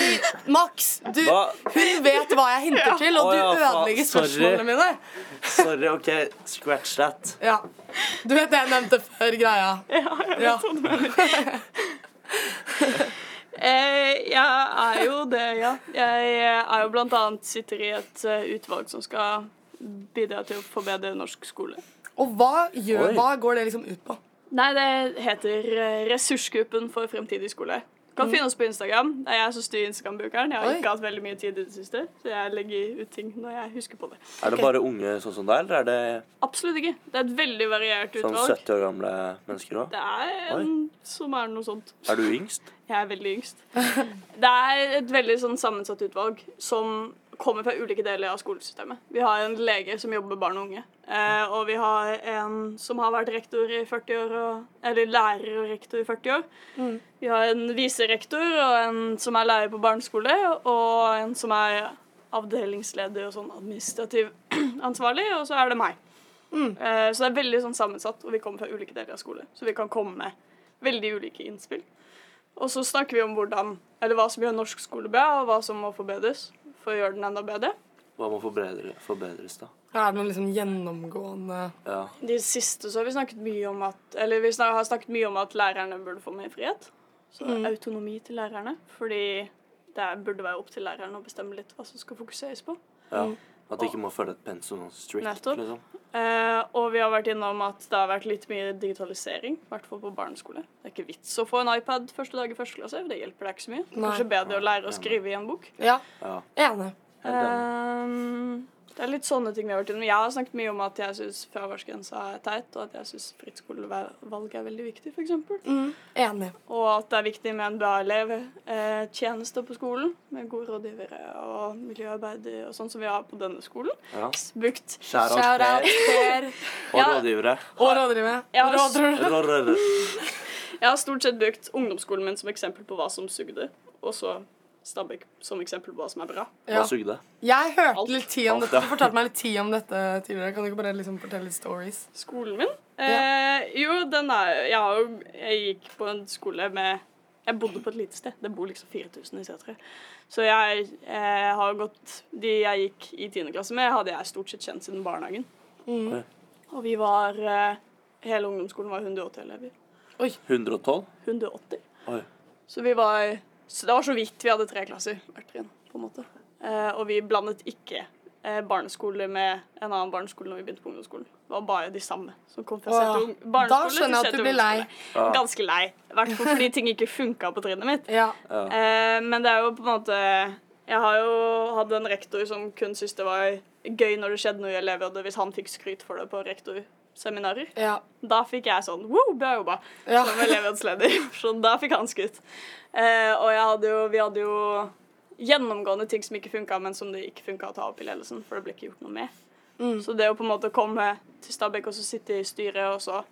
S2: Max! Du,
S1: Hva?
S2: hun vet hva jeg hinter til,
S1: Å
S2: og du
S1: ja, faen,
S2: ødelegger
S1: sorry.
S2: spørsmålene mine.
S1: Sorry, OK, scratch that.
S2: Ja. Du vet det jeg nevnte før greia. Ja.
S3: Eh, jeg er jo det, ja. Jeg er jo blant annet sitter i et eh, utvalg som skal bidra til å forbedre norsk skole.
S2: Og hva, gjør,
S1: Oi.
S2: hva går det liksom ut på?
S3: Nei, det heter eh, Ressursgruppen for fremtidig skole. Kan finne oss på Instagram. Det er jeg som styrer Instagram-brukeren. Jeg har
S2: Oi.
S3: ikke hatt veldig mye tid i det siste, så jeg legger ut ting når jeg husker på det.
S1: Er det bare unge sånn som deg, eller er det
S3: Absolutt ikke. Det er et veldig variert
S1: sånn
S3: utvalg.
S1: 70 år gamle mennesker òg?
S3: Det er en som er noe sånt.
S1: Er du yngst?
S3: Jeg er veldig yngst. Det er et veldig sånn sammensatt utvalg som kommer fra ulike deler av skolesystemet. Vi har en lege som jobber med barn og unge, eh, og vi har en som har vært rektor i 40 år, og, eller lærer og rektor i 40 år. Vi har en viserektor og en som er lærer på barneskole, og en som er avdelingsleder og sånn administrativ ansvarlig, og så er det meg. Eh, Så det er veldig sånn sammensatt, og vi kommer fra ulike deler av skole, så vi kan komme med veldig ulike innspill. Og så snakker vi om hvordan, eller hva som gjør norsk skole bra, og hva som må forbedres for å gjøre den enda bedre.
S1: Hva må forbedre, forbedres, da?
S2: Er det noen liksom gjennomgående
S1: Ja.
S3: De siste så har vi snakket mye om at eller vi snak, har snakket mye om at lærerne burde få mer frihet. Så autonomi til lærerne. Fordi det burde være opp til læreren å bestemme litt hva som skal fokuseres på.
S1: ja. At de ikke må følge et pensum og strict,
S3: Nettopp.
S1: liksom.
S3: Eh, og vi har vært innom at det har vært litt mye digitalisering, i hvert fall på barneskole. Det er ikke vits å få en iPad første dag i første klasse. Det hjelper deg ikke så mye.
S2: Nei.
S3: Kanskje bedre å lære å skrive i en bok.
S2: Ja,
S1: Ja.
S2: enig.
S3: Ehm, det er litt sånne ting vi har vært innom. Jeg har snakket mye om at jeg syns fraværsgrensa er teit, og at jeg syns fritt skolevalg er veldig viktig, f.eks. eksempel
S2: Enig.
S3: Og at det er viktig med en bra elevtjeneste på skolen, med gode rådgivere og miljøarbeidere og sånn som vi har på denne skolen.
S1: Ja.
S3: Bukt.
S1: Shout out
S2: Shout out
S1: Per
S2: Per.
S1: og
S3: Ja.
S1: rådgivere.
S2: Og rådgivere.
S3: Ja,
S2: Og rådgivere.
S1: Rådgivere.
S3: Jeg har stort sett brukt ungdomsskolen min som eksempel på hva som sugde, og så Stabæk som eksempel på hva som er bra.
S2: Ja.
S1: Hva sugde?
S2: Jeg hørte litt tid om
S1: Alt,
S2: dette.
S1: ja.
S2: Du fortalte meg litt tid om dette tidligere. Kan du ikke bare liksom fortelle litt stories?
S3: Skolen min? Eh, jo, den er jeg, har jo, jeg gikk på en skole med Jeg bodde på et lite sted. Det bor liksom 4000 i Setre. Så jeg eh, har gått De jeg gikk i 10. klasse med, hadde jeg stort sett kjent siden barnehagen.
S1: Oi.
S3: Og vi var eh, Hele ungdomsskolen var 180 elever.
S1: 112?
S3: 180.
S1: Oi.
S3: Så vi var så Det var så vidt vi hadde tre klasser hvert trinn, på en måte. Eh, og vi blandet ikke eh, barneskole med en annen barneskole når vi begynte på ungdomsskolen. Det var bare de samme som kom fra
S2: Åh,
S3: Seter ung-
S2: Da
S3: barneskole til
S2: skjønner jeg at
S3: Seter
S2: du blir lei.
S3: ungdomsskole. Ganske lei. I hvert fall fordi ting ikke funka på trinnet mitt.
S2: Ja.
S3: Eh, men det er jo på en måte Jeg har jo hatt en rektor som kun syntes det var gøy når det skjedde noe i elevrådet, hvis han fikk skryt for det på rektorseminarer.
S2: ja.
S3: Da fikk jeg sånn Wow, bra jobba!
S2: Ja.
S3: Som elevrådsleder. Så da fikk han skutt. Eh, og jeg hadde jo, vi hadde jo gjennomgående ting som ikke funka, men som det ikke funka å ta opp i ledelsen, for det ble ikke gjort noe med. Så det å på en måte komme til Stabæk og så sitte i styret, og så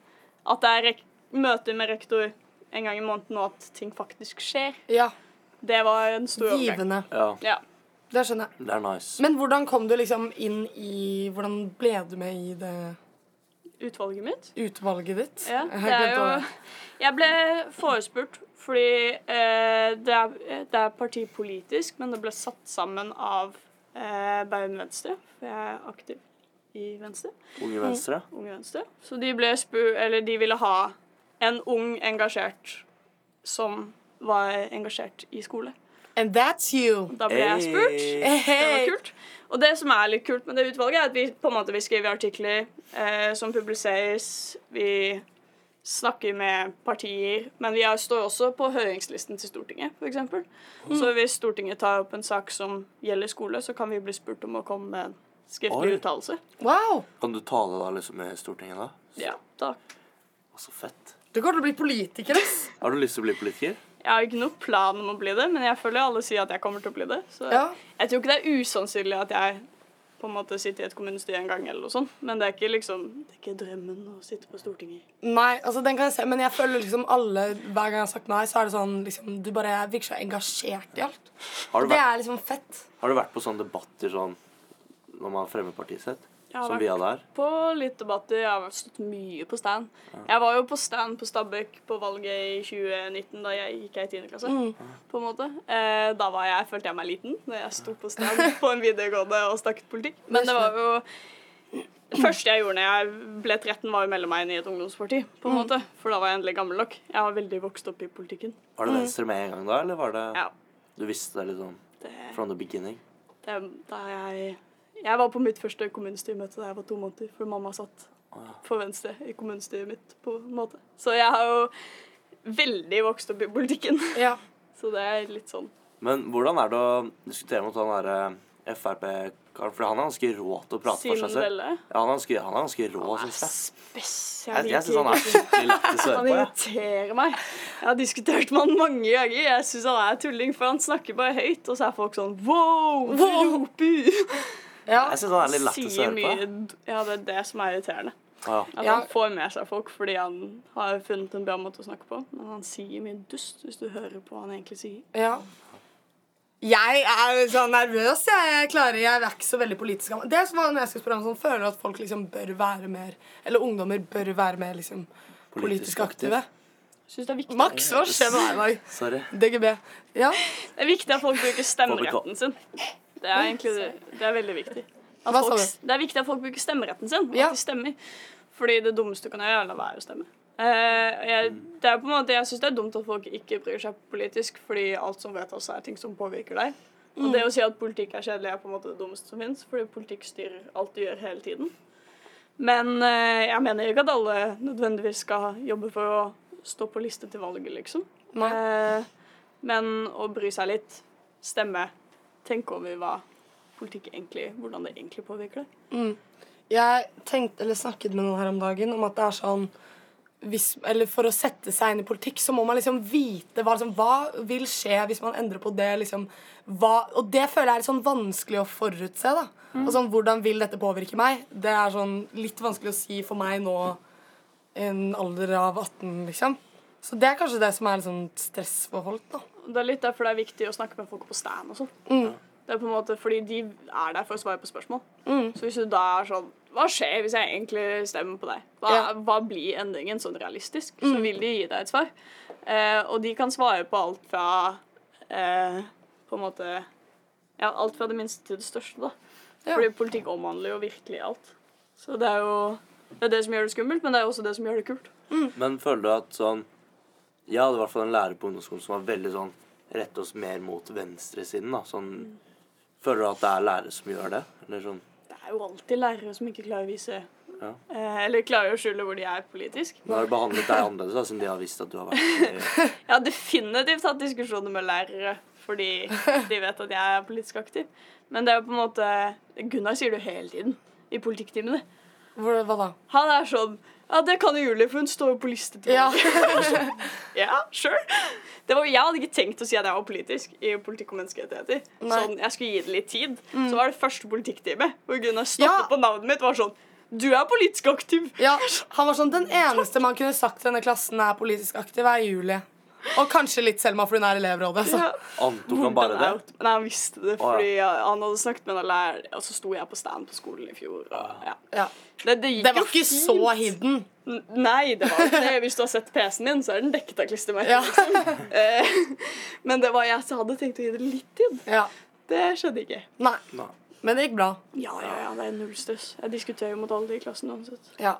S3: at det er rek møter med rektor en gang i måneden, og at ting faktisk skjer,
S2: ja.
S3: det var en stor overgang.
S2: Givende.
S1: Ja,
S3: Ja.
S2: Det skjønner jeg.
S1: det er nice.
S2: Men hvordan kom du liksom inn i Hvordan ble du med i det
S3: Utvalget mitt
S2: utvalget ditt?
S3: Ja,
S2: Jeg
S3: det er
S2: glemte
S3: jo
S2: å-
S3: Jeg ble forespurt fordi eh, det, er, det er partipolitisk, men det ble satt sammen av eh, Bærum Venstre, for jeg er aktiv i Venstre.
S1: Unge Venstre.
S3: Unge Venstre. Så de ble spurt Eller de ville ha en ung engasjert som var engasjert i skole.
S2: And that's you.
S3: Da ble jeg spurt. Det var kult. Og det som er litt kult med det utvalget, er at vi på en måte vi skriver artikler eh, som publiseres. Vi snakker med partier, men vi er, står også på høringslisten til Stortinget, f.eks. Så hvis Stortinget tar opp en sak som gjelder skole, så kan vi bli spurt om å komme med en
S1: Oi.
S3: skriftlig uttalelse.
S2: Wow!
S1: Kan du tale da liksom i Stortinget, da?
S3: Ja, da.
S1: Å, Så fett.
S2: Du kommer til å bli politiker. ass.
S1: Har du lyst til å bli politiker?
S3: Jeg har ikke noen plan om å bli det, men jeg føler alle sier at jeg kommer til å bli det. Så
S2: Ja.
S3: jeg tror ikke det er usannsynlig at jeg på en måte sitter i et kommunestyre en gang, eller noe sånt. Men det er ikke liksom, det er ikke drømmen å sitte på Stortinget.
S2: Nei, altså den kan jeg se, men jeg føler liksom alle Hver gang jeg har sagt nei, så er det sånn liksom Du bare virker så engasjert i alt.
S1: Har du,
S2: Det
S1: vært,
S2: er liksom fett.
S1: har du vært på sånne debatter sånn når man fremmer partiet sitt?
S3: Jeg har
S1: Som vi
S3: vært
S1: hadde her?
S3: på litt debatter, jeg har stått mye på stand. Jeg var jo på stand på Stabæk på valget i 2019, da jeg gikk jeg i 10. klasse. på en måte. Eh, da var jeg, følte jeg meg liten, når jeg sto på stand på en videregående og snakket politikk. Men det var jo det første jeg gjorde når jeg ble 13, var å melde meg inn i et ungdomsparti. på en måte. For da var jeg endelig gammel nok. Jeg var veldig vokst opp i politikken.
S1: Var det Venstre med en gang da, eller var det
S3: Ja,
S1: Du visste det litt sånn
S3: det,
S1: from the beginning?
S3: det, da jeg, jeg var på mitt første kommunestyremøte da jeg var to måneder, for mamma satt for Venstre i kommunestyret mitt. på en måte. Så jeg har jo veldig vokst opp i politikken.
S2: Ja.
S3: Så det er litt sånn
S1: Men hvordan er det å diskutere mot han derre Frp-karen? For han er ganske rå til å prate for seg selv.
S3: Sindelle.
S1: Ja, han er ganske, han er ganske rå,
S3: Han er
S1: syns jeg.
S3: spess.
S1: Jeg, jeg syns
S3: liker
S1: han er
S3: ikke- sånn.
S1: skikkelig lættis å høre
S3: Han
S1: på. jeg.
S3: irriterer meg. Jeg har diskutert med han mange ganger. Jeg syns han er tulling, for han snakker bare høyt, og så er folk sånn wow,
S2: Wow!
S3: roper.
S2: Ja.
S1: Jeg syns han er litt lættis å
S3: Sier
S1: høre
S3: mye
S1: på.
S3: d- Ja, det er det som er irriterende.
S1: Ja.
S3: At
S2: Ja.
S3: han får med seg folk fordi han har funnet en bra måte å snakke på. Men han sier mye dust, hvis du hører på hva han egentlig sier.
S2: Ja. Jeg er jo sånn nervøs. Jeg, jeg klarer, jeg er ikke så veldig politisk. av meg. Det som var når jeg skulle spørre om sånn, Føler du at folk liksom bør være mer Eller ungdommer bør være mer liksom, politisk,
S1: Politisk aktiv.
S2: aktive?
S3: Synes det er viktig.
S2: Max, hva skjer med deg i dag?
S1: Sorry.
S2: DGB. Ja.
S3: Det er viktig at folk bruker
S1: Får
S3: stemmeretten sin. Det er egentlig det. Det er veldig viktig. At
S2: Hva sa
S3: folk,
S2: du?
S3: Det er viktig at folk bruker stemmeretten sin, og
S2: Ja.
S3: at de stemmer. Fordi det dummeste du kan gjøre, er å la være å stemme. Eh, jeg, det er på en måte, jeg syns det er dumt at folk ikke bryr seg politisk, fordi alt som vedtas, er ting som påvirker deg. Og det å si at politikk er kjedelig, er på en måte det dummeste som fins, fordi politikk styrer alt du gjør hele tiden. Men eh, jeg mener ikke at alle nødvendigvis skal jobbe for å stå på liste til valget, liksom. Eh, men å bry seg litt, stemme, tenke over hva politikk egentlig, hvordan det egentlig påvirker det.
S2: Jeg tenkte, eller snakket med noen her om dagen om at det er sånn hvis, eller For å sette seg inn i politikk så må man liksom vite hva, liksom, hva vil skje hvis man endrer på det. Liksom, hva, og det føler jeg er litt sånn vanskelig å forutse. da og sånn, Hvordan vil dette påvirke meg? Det er sånn litt vanskelig å si for meg nå i en alder av 18, liksom. Så det er kanskje det som er litt sånn stress for folk. da
S3: Og Det er litt derfor det er viktig å snakke med folk på stand og sånn. Det er på en måte fordi de er der for å svare på spørsmål. Så hvis du da er sånn Hva skjer hvis jeg egentlig stemmer på deg? Hva,
S2: Ja.
S3: hva blir endringen sånn realistisk? Så vil de gi deg et svar. Eh, og de kan svare på alt fra eh, på en måte Ja, alt fra det minste til det største, da. Fordi politikk omhandler jo virkelig alt. Så det er jo det er det som gjør det skummelt, men det er jo også det som gjør det kult.
S1: Men føler du at sånn Jeg hadde i hvert fall en lærer på ungdomsskolen som var veldig sånn Rette oss mer mot venstresiden, da. Sånn Føler du at det er lærere som gjør det? Eller sånn
S3: Det er jo alltid lærere som ikke klarer å vise
S1: Ja.
S3: eh, Eller klarer å skjule hvor de er politisk.
S1: Nå har de behandlet deg annerledes, da, siden de har visst at du har vært i
S3: Jeg har definitivt hatt diskusjoner med lærere fordi de vet at jeg er politisk aktiv. Men det er jo på en måte Gunnar sier det jo hele tiden i politikktimene.
S2: Hvor, hva da?
S3: Han er sånn Ja, det kan jo Julie, for hun står jo på liste til
S2: Ja.
S3: Ja, sure. Det var, jeg hadde ikke tenkt å si at jeg var politisk i politikk og menneskerettigheter.
S2: Nei. Mm.
S3: Sånn, jeg skulle gi det litt tid. Så var det første politikktime hvor Gunnar
S2: Ja.
S3: stoppet på navnet mitt og var sånn Du er politisk aktiv!
S2: Ja, han var sånn Den eneste man kunne sagt til denne klassen er politisk aktiv, er Julie. Og kanskje litt Selma, for hun er i elevrådet. Så.
S3: Ja.
S1: Antok han bare det?
S3: Hvordan er- Nei, han visste det,
S1: ja.
S3: fordi ja, han hadde snakket med en lærer, og så sto jeg på stand på skolen i fjor. Og,
S1: Ah.
S3: ja.
S2: Ja.
S3: det, det gikk
S2: Det var
S3: jo
S2: ikke
S3: fint.
S2: så hidden.
S3: N- Nei, det var ikke det. Hvis du har sett PC-en din, så er den dekket av klistremerker.
S2: Ja.
S3: liksom. Eh, Men det var jeg som hadde tenkt å gi det litt tid.
S2: Ja.
S3: Det skjedde ikke.
S2: Nei. Men det gikk bra.
S3: Ja, ja, ja, det er null stress. Jeg diskuterer jo mot alle de i klassen uansett.
S2: Ja.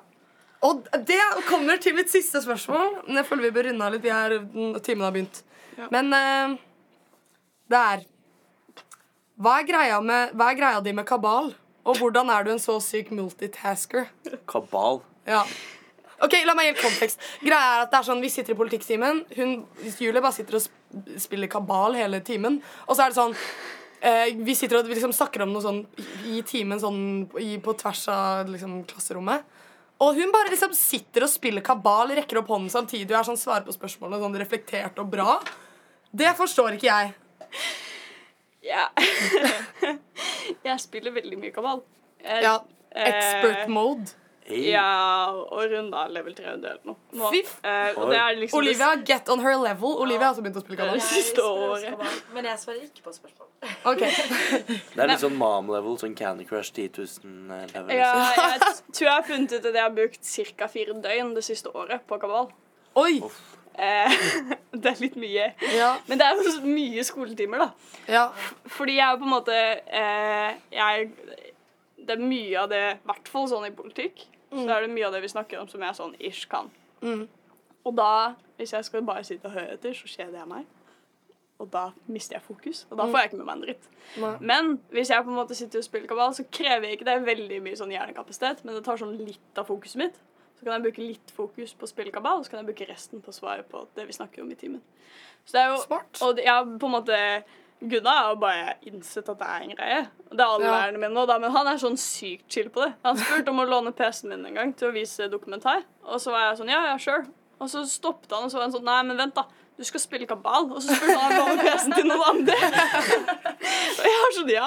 S2: Og det kommer til mitt siste spørsmål. Men jeg føler vi bør runde av litt. Vi er, den- timen har begynt.
S3: Ja.
S2: Men eh, det er hva er, greia med, hva er greia di med kabal? Og hvordan er du en så syk multitasker?
S1: kabal.
S2: Ja. Ok, La meg gi litt kontekst. Greia er at det er sånn, Vi sitter i politikktimen. Hun, Julie bare sitter og sp- spiller kabal hele timen. Og så er det sånn eh, Vi sitter og liksom snakker om noe sånn i i timen sånn i, på tvers av liksom, klasserommet. Og hun bare liksom sitter og spiller kabal, rekker opp hånden samtidig og er sånn svarer på spørsmålene sånn reflektert og bra. Det forstår ikke jeg.
S3: Ja. jeg spiller veldig mye kabal. Jeg-
S2: Ja,
S3: eh,
S2: Expert mode.
S1: Hey.
S3: Ja, og runda level 300 eller noe. Nå,
S2: Fy f-
S3: eh, og det er liksom det
S2: Olivia, get on her level. Olivia har også begynt å spille kabal.
S3: det siste året.
S6: Men jeg svarer ikke på spørsmål.
S2: Ok.
S1: Det er litt sånn mom-level, sånn Candy Crush liksom. 10 000-level.
S3: Ja, jeg tror jeg har funnet ut at jeg har brukt ca. fire døgn det siste året på kabal.
S2: Oi!
S3: Eh, det er litt mye.
S2: Ja,
S3: Men det er jo så mye skoletimer, da.
S2: ja.
S3: Fordi jeg er på en måte eh, jeg, Det er mye av det, i hvert fall sånn i politikk, så er det mye av det vi snakker om som jeg sånn ish kan. Og da, hvis jeg skal bare sitte og høre etter, så kjeder jeg meg. Og da mister jeg fokus, og da får jeg ikke med meg en dritt. Men hvis jeg på en måte sitter og spiller kabal, så krever ikke det veldig mye sånn hjernekapasitet, men det tar sånn litt av fokuset mitt. Så kan jeg bruke litt fokus på å spille kabal, og så kan jeg bruke resten på å svare på det vi snakker om i timen. Så det er jo,
S2: Smart.
S3: Og det- jeg har på en måte Gunnar har jo bare innsett at det er en greie. Det er alle
S2: Ja.
S3: lærerne mine nå, da, men han er sånn sykt chill på det. Han spurte om å låne PC-en min en gang til å vise dokumentar, og så var jeg sånn ja, ja, sure. Og så stoppet han, og så var han sånn nei, men vent, da. Du skal spille kabal. Og så spurte han om å låne PC-en til noen andre. og jeg var sånn ja.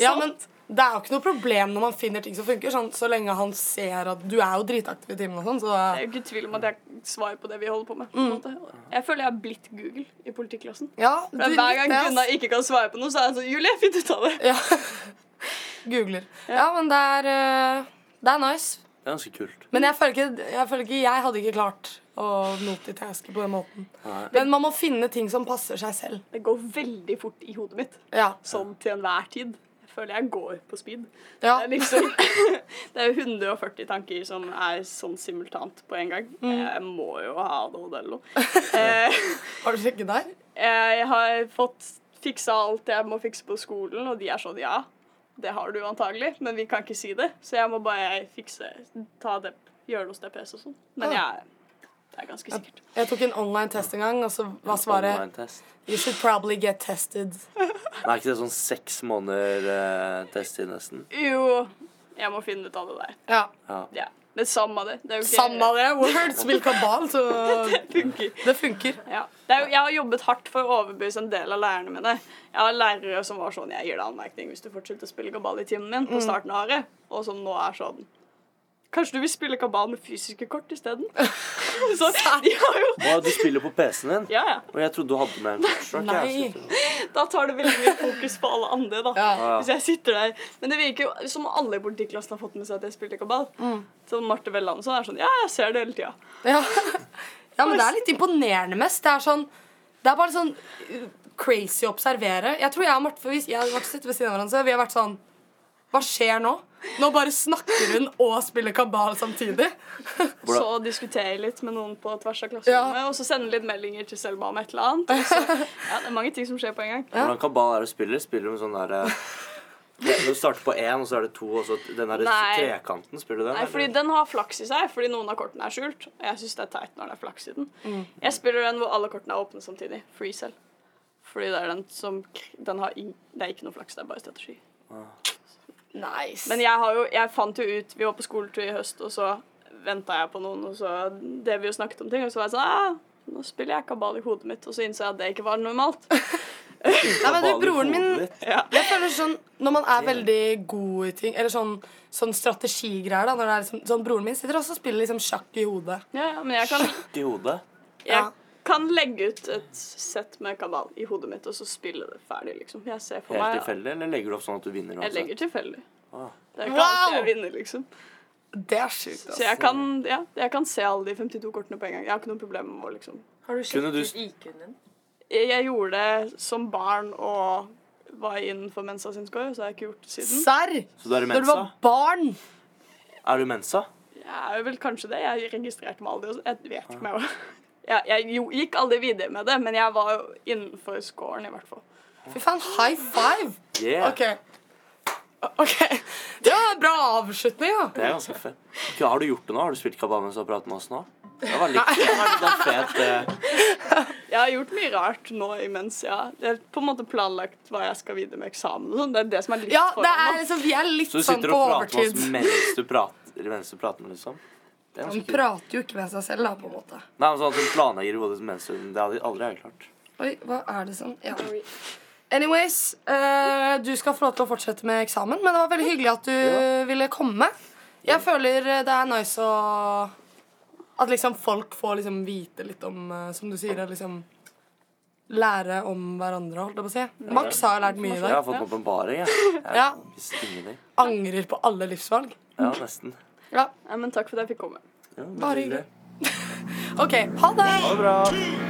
S2: Ja, men det er jo ikke noe problem når man finner ting som funker, sånn, så lenge han ser at du er jo dritaktiv i timen og sånn, så
S3: Det er jo ikke tvil om at jeg svarer på det vi holder på med.
S2: Mm.
S3: På en måte. Jeg føler jeg har blitt Google i politikklassen.
S2: ja, du,
S3: Men hver gang
S2: likte det, ass.
S3: Gunnar ikke kan svare på noe, så er han sånn Julie, finn ut av det.
S2: Ja. Googler. Ja, men det er eh, Det er nice.
S1: Det er ganske kult.
S2: Men jeg føler ikke jeg, føler ikke, jeg hadde ikke klart å multitaske på den måten.
S1: Nei.
S2: Men man må finne ting som passer seg selv.
S3: Det går veldig fort i hodet mitt.
S2: Ja.
S3: Sånn til enhver tid. Jeg føler jeg går på speed.
S2: ja.
S3: Det er liksom Det er 140 tanker som er sånn simultant på en gang.
S2: Mm.
S3: Jeg må jo ha ADHD eller noe. Eh,
S2: Har du sjekket deg?
S3: Jeg har fått fiksa alt jeg må fikse på skolen, og de er sånn ja, det har du antagelig, men vi kan ikke si det, så jeg må bare fikse ta det, gjøre det hos DPS og sånn. Men jeg det er ganske sikkert.
S2: Jeg tok en online test en gang, og så var svaret
S1: Online-test.
S2: You should probably get tested.
S1: Men er ikke det sånn seks måneder eh, test i nesten?
S3: Jo, jeg må finne ut av det der.
S2: Ja.
S3: Ja. Men samme det. Det er jo ikke
S2: Samme det. Word spill kabal, så
S3: funker.
S2: det funker.
S3: Ja. Det er jo, jeg har jobbet hardt for å overbevise en del av lærerne mine. Jeg har lærere som var sånn Jeg gir deg anmerkning hvis du fortsetter å spille kabal i timen min på starten av året, og som nå er sånn Kanskje du vil spille kabal med fysiske kort isteden? Så de har jo
S1: Å, du spiller på PC-en din?
S3: Ja, ja.
S1: Og jeg trodde du hadde med en altså. kortstokk.
S2: Nei.
S3: Da tar det veldig mye fokus på alle andre, da.
S2: Ja.
S3: Hvis jeg sitter der. Men det virker jo som alle i politiklassen har fått med seg at jeg spilte kabal. Så Marte Velland sånn er sånn Ja, jeg ser det hele tida.
S2: Ja. ja, men det er litt imponerende mest. Det er sånn Det er bare sånn uh, crazy å observere. Jeg tror jeg og Marte for hvis- jeg har vært sitt ved siden av hverandre, vi har vært sånn Hva skjer nå? Nå bare snakker hun og spiller kabal samtidig.
S1: Hvordan-
S3: Så diskutere litt med noen på tvers av klasserommet, og så sende litt meldinger til Selma om et eller annet. Og så, ja, det er mange ting som skjer på en gang.
S1: Hvordan kabal er det du spiller? Spiller du med sånn der eh, det- Når du starter på én, og så er det to, og så den der
S3: Nei.
S1: trekanten, spiller du den?
S3: Nei, fordi
S1: eller?
S3: Den har flaks i seg, fordi noen av kortene er skjult. Og jeg syns det er teit når det er flaks i den. Jeg spiller den hvor alle kortene er åpne samtidig. Free cell. Fordi det er den som den har ing, Det er ikke noe flaks, det er bare strategi.
S2: Nice.
S3: Men jeg, har jo, jeg fant jo ut Vi var på skoletur i høst, og så venta jeg på noen, og så det vi jo snakket om ting, og så var jeg sånn ah, Nå spiller jeg kabal i hodet mitt, og så innså jeg at det ikke var normalt.
S2: Nei, men du,
S1: Kabal i
S2: broren min
S1: hodet ditt.
S2: Jeg føler sånn, Når man er veldig god i ting, eller sånn, sånn strategigreier da, når det er liksom, sånn, Broren min sitter også og spiller liksom sjakk i hodet.
S3: Ja, ja, men jeg kan,
S1: I hodet.
S3: jeg
S2: Ja.
S3: kan legge ut et sett med kabal i hodet mitt, og så spille det ferdig, liksom. Jeg ser for
S1: Helt
S3: meg
S1: tilfeldig, eller legger du opp sånn at du vinner?
S3: Jeg legger tilfeldig.
S1: Ah.
S3: Det er ikke alltid
S2: Wow!
S3: jeg vinner, liksom.
S2: Det er sjukt. ass.
S3: Så jeg kan, ja, jeg kan se alle de 52 kortene på en gang. Jeg har ikke noe problem med å liksom
S10: Har du
S1: Kunne du-
S10: sjekket IQ-en din?
S3: Jeg jeg gjorde det som barn og var innenfor Mensa sin score, så jeg har ikke gjort det siden.
S2: Serr!
S1: Så du er i
S2: Når du
S1: mensa?
S2: var barn.
S1: Er du i mensa?
S3: Jeg er jo vel kanskje det. Jeg registrerte meg aldri. og så- Jeg vet
S1: Ah.
S3: ikke om jeg var jeg, jeg jo, gikk aldri videre med det, men jeg var jo innenfor scoren, i hvert fall.
S2: Fy faen, high five!
S1: Yeah.
S2: OK. OK. Det var en bra avslutning, da.
S1: Det er ganske fett. Ok, har du gjort det nå? Har du spilt kabal mens du har pratet med oss nå? Det var litt det var litt sånn fet eh,
S3: Jeg har gjort mye rart nå imens jeg Jeg har på en måte planlagt hva jeg skal videre med eksamen og sånn. Det er det som er litt
S2: Ja, det
S3: foran
S2: er
S3: nå.
S2: liksom, Vi er litt
S1: Så du
S2: sånn
S1: sitter
S2: på
S1: og prater med
S2: overtid.
S1: oss mens du prater, mens du prater med liksom? Det er
S2: Han
S1: ganske kult.
S2: prater jo ikke med seg selv, da, på en måte.
S1: Nei, men sånn at du planlegger i hodet mens du Det hadde aldri jeg klart.
S2: Oi, hva er det sånn? Ja. Anyways, eh, du skal få lov til å fortsette med eksamen, men det var veldig hyggelig at du
S1: Ja.
S2: ville komme. Jeg føler eh, det er nice å At liksom folk får liksom vite litt om, eh, som du sier, å liksom lære om hverandre, holdt jeg på å si. Max har lært mye i
S1: Jeg
S2: dag.
S1: har fått en åpenbaring, jeg. Jeg
S2: Ja.
S1: visste ingenting.
S2: Angrer på alle livsvalg.
S1: Ja, nesten.
S2: Ja,
S3: Ja, men takk for at jeg fikk komme.
S1: Ja, men
S2: bare
S1: hyggelig.
S2: hyggelig. OK, ha det!
S1: Ha det bra.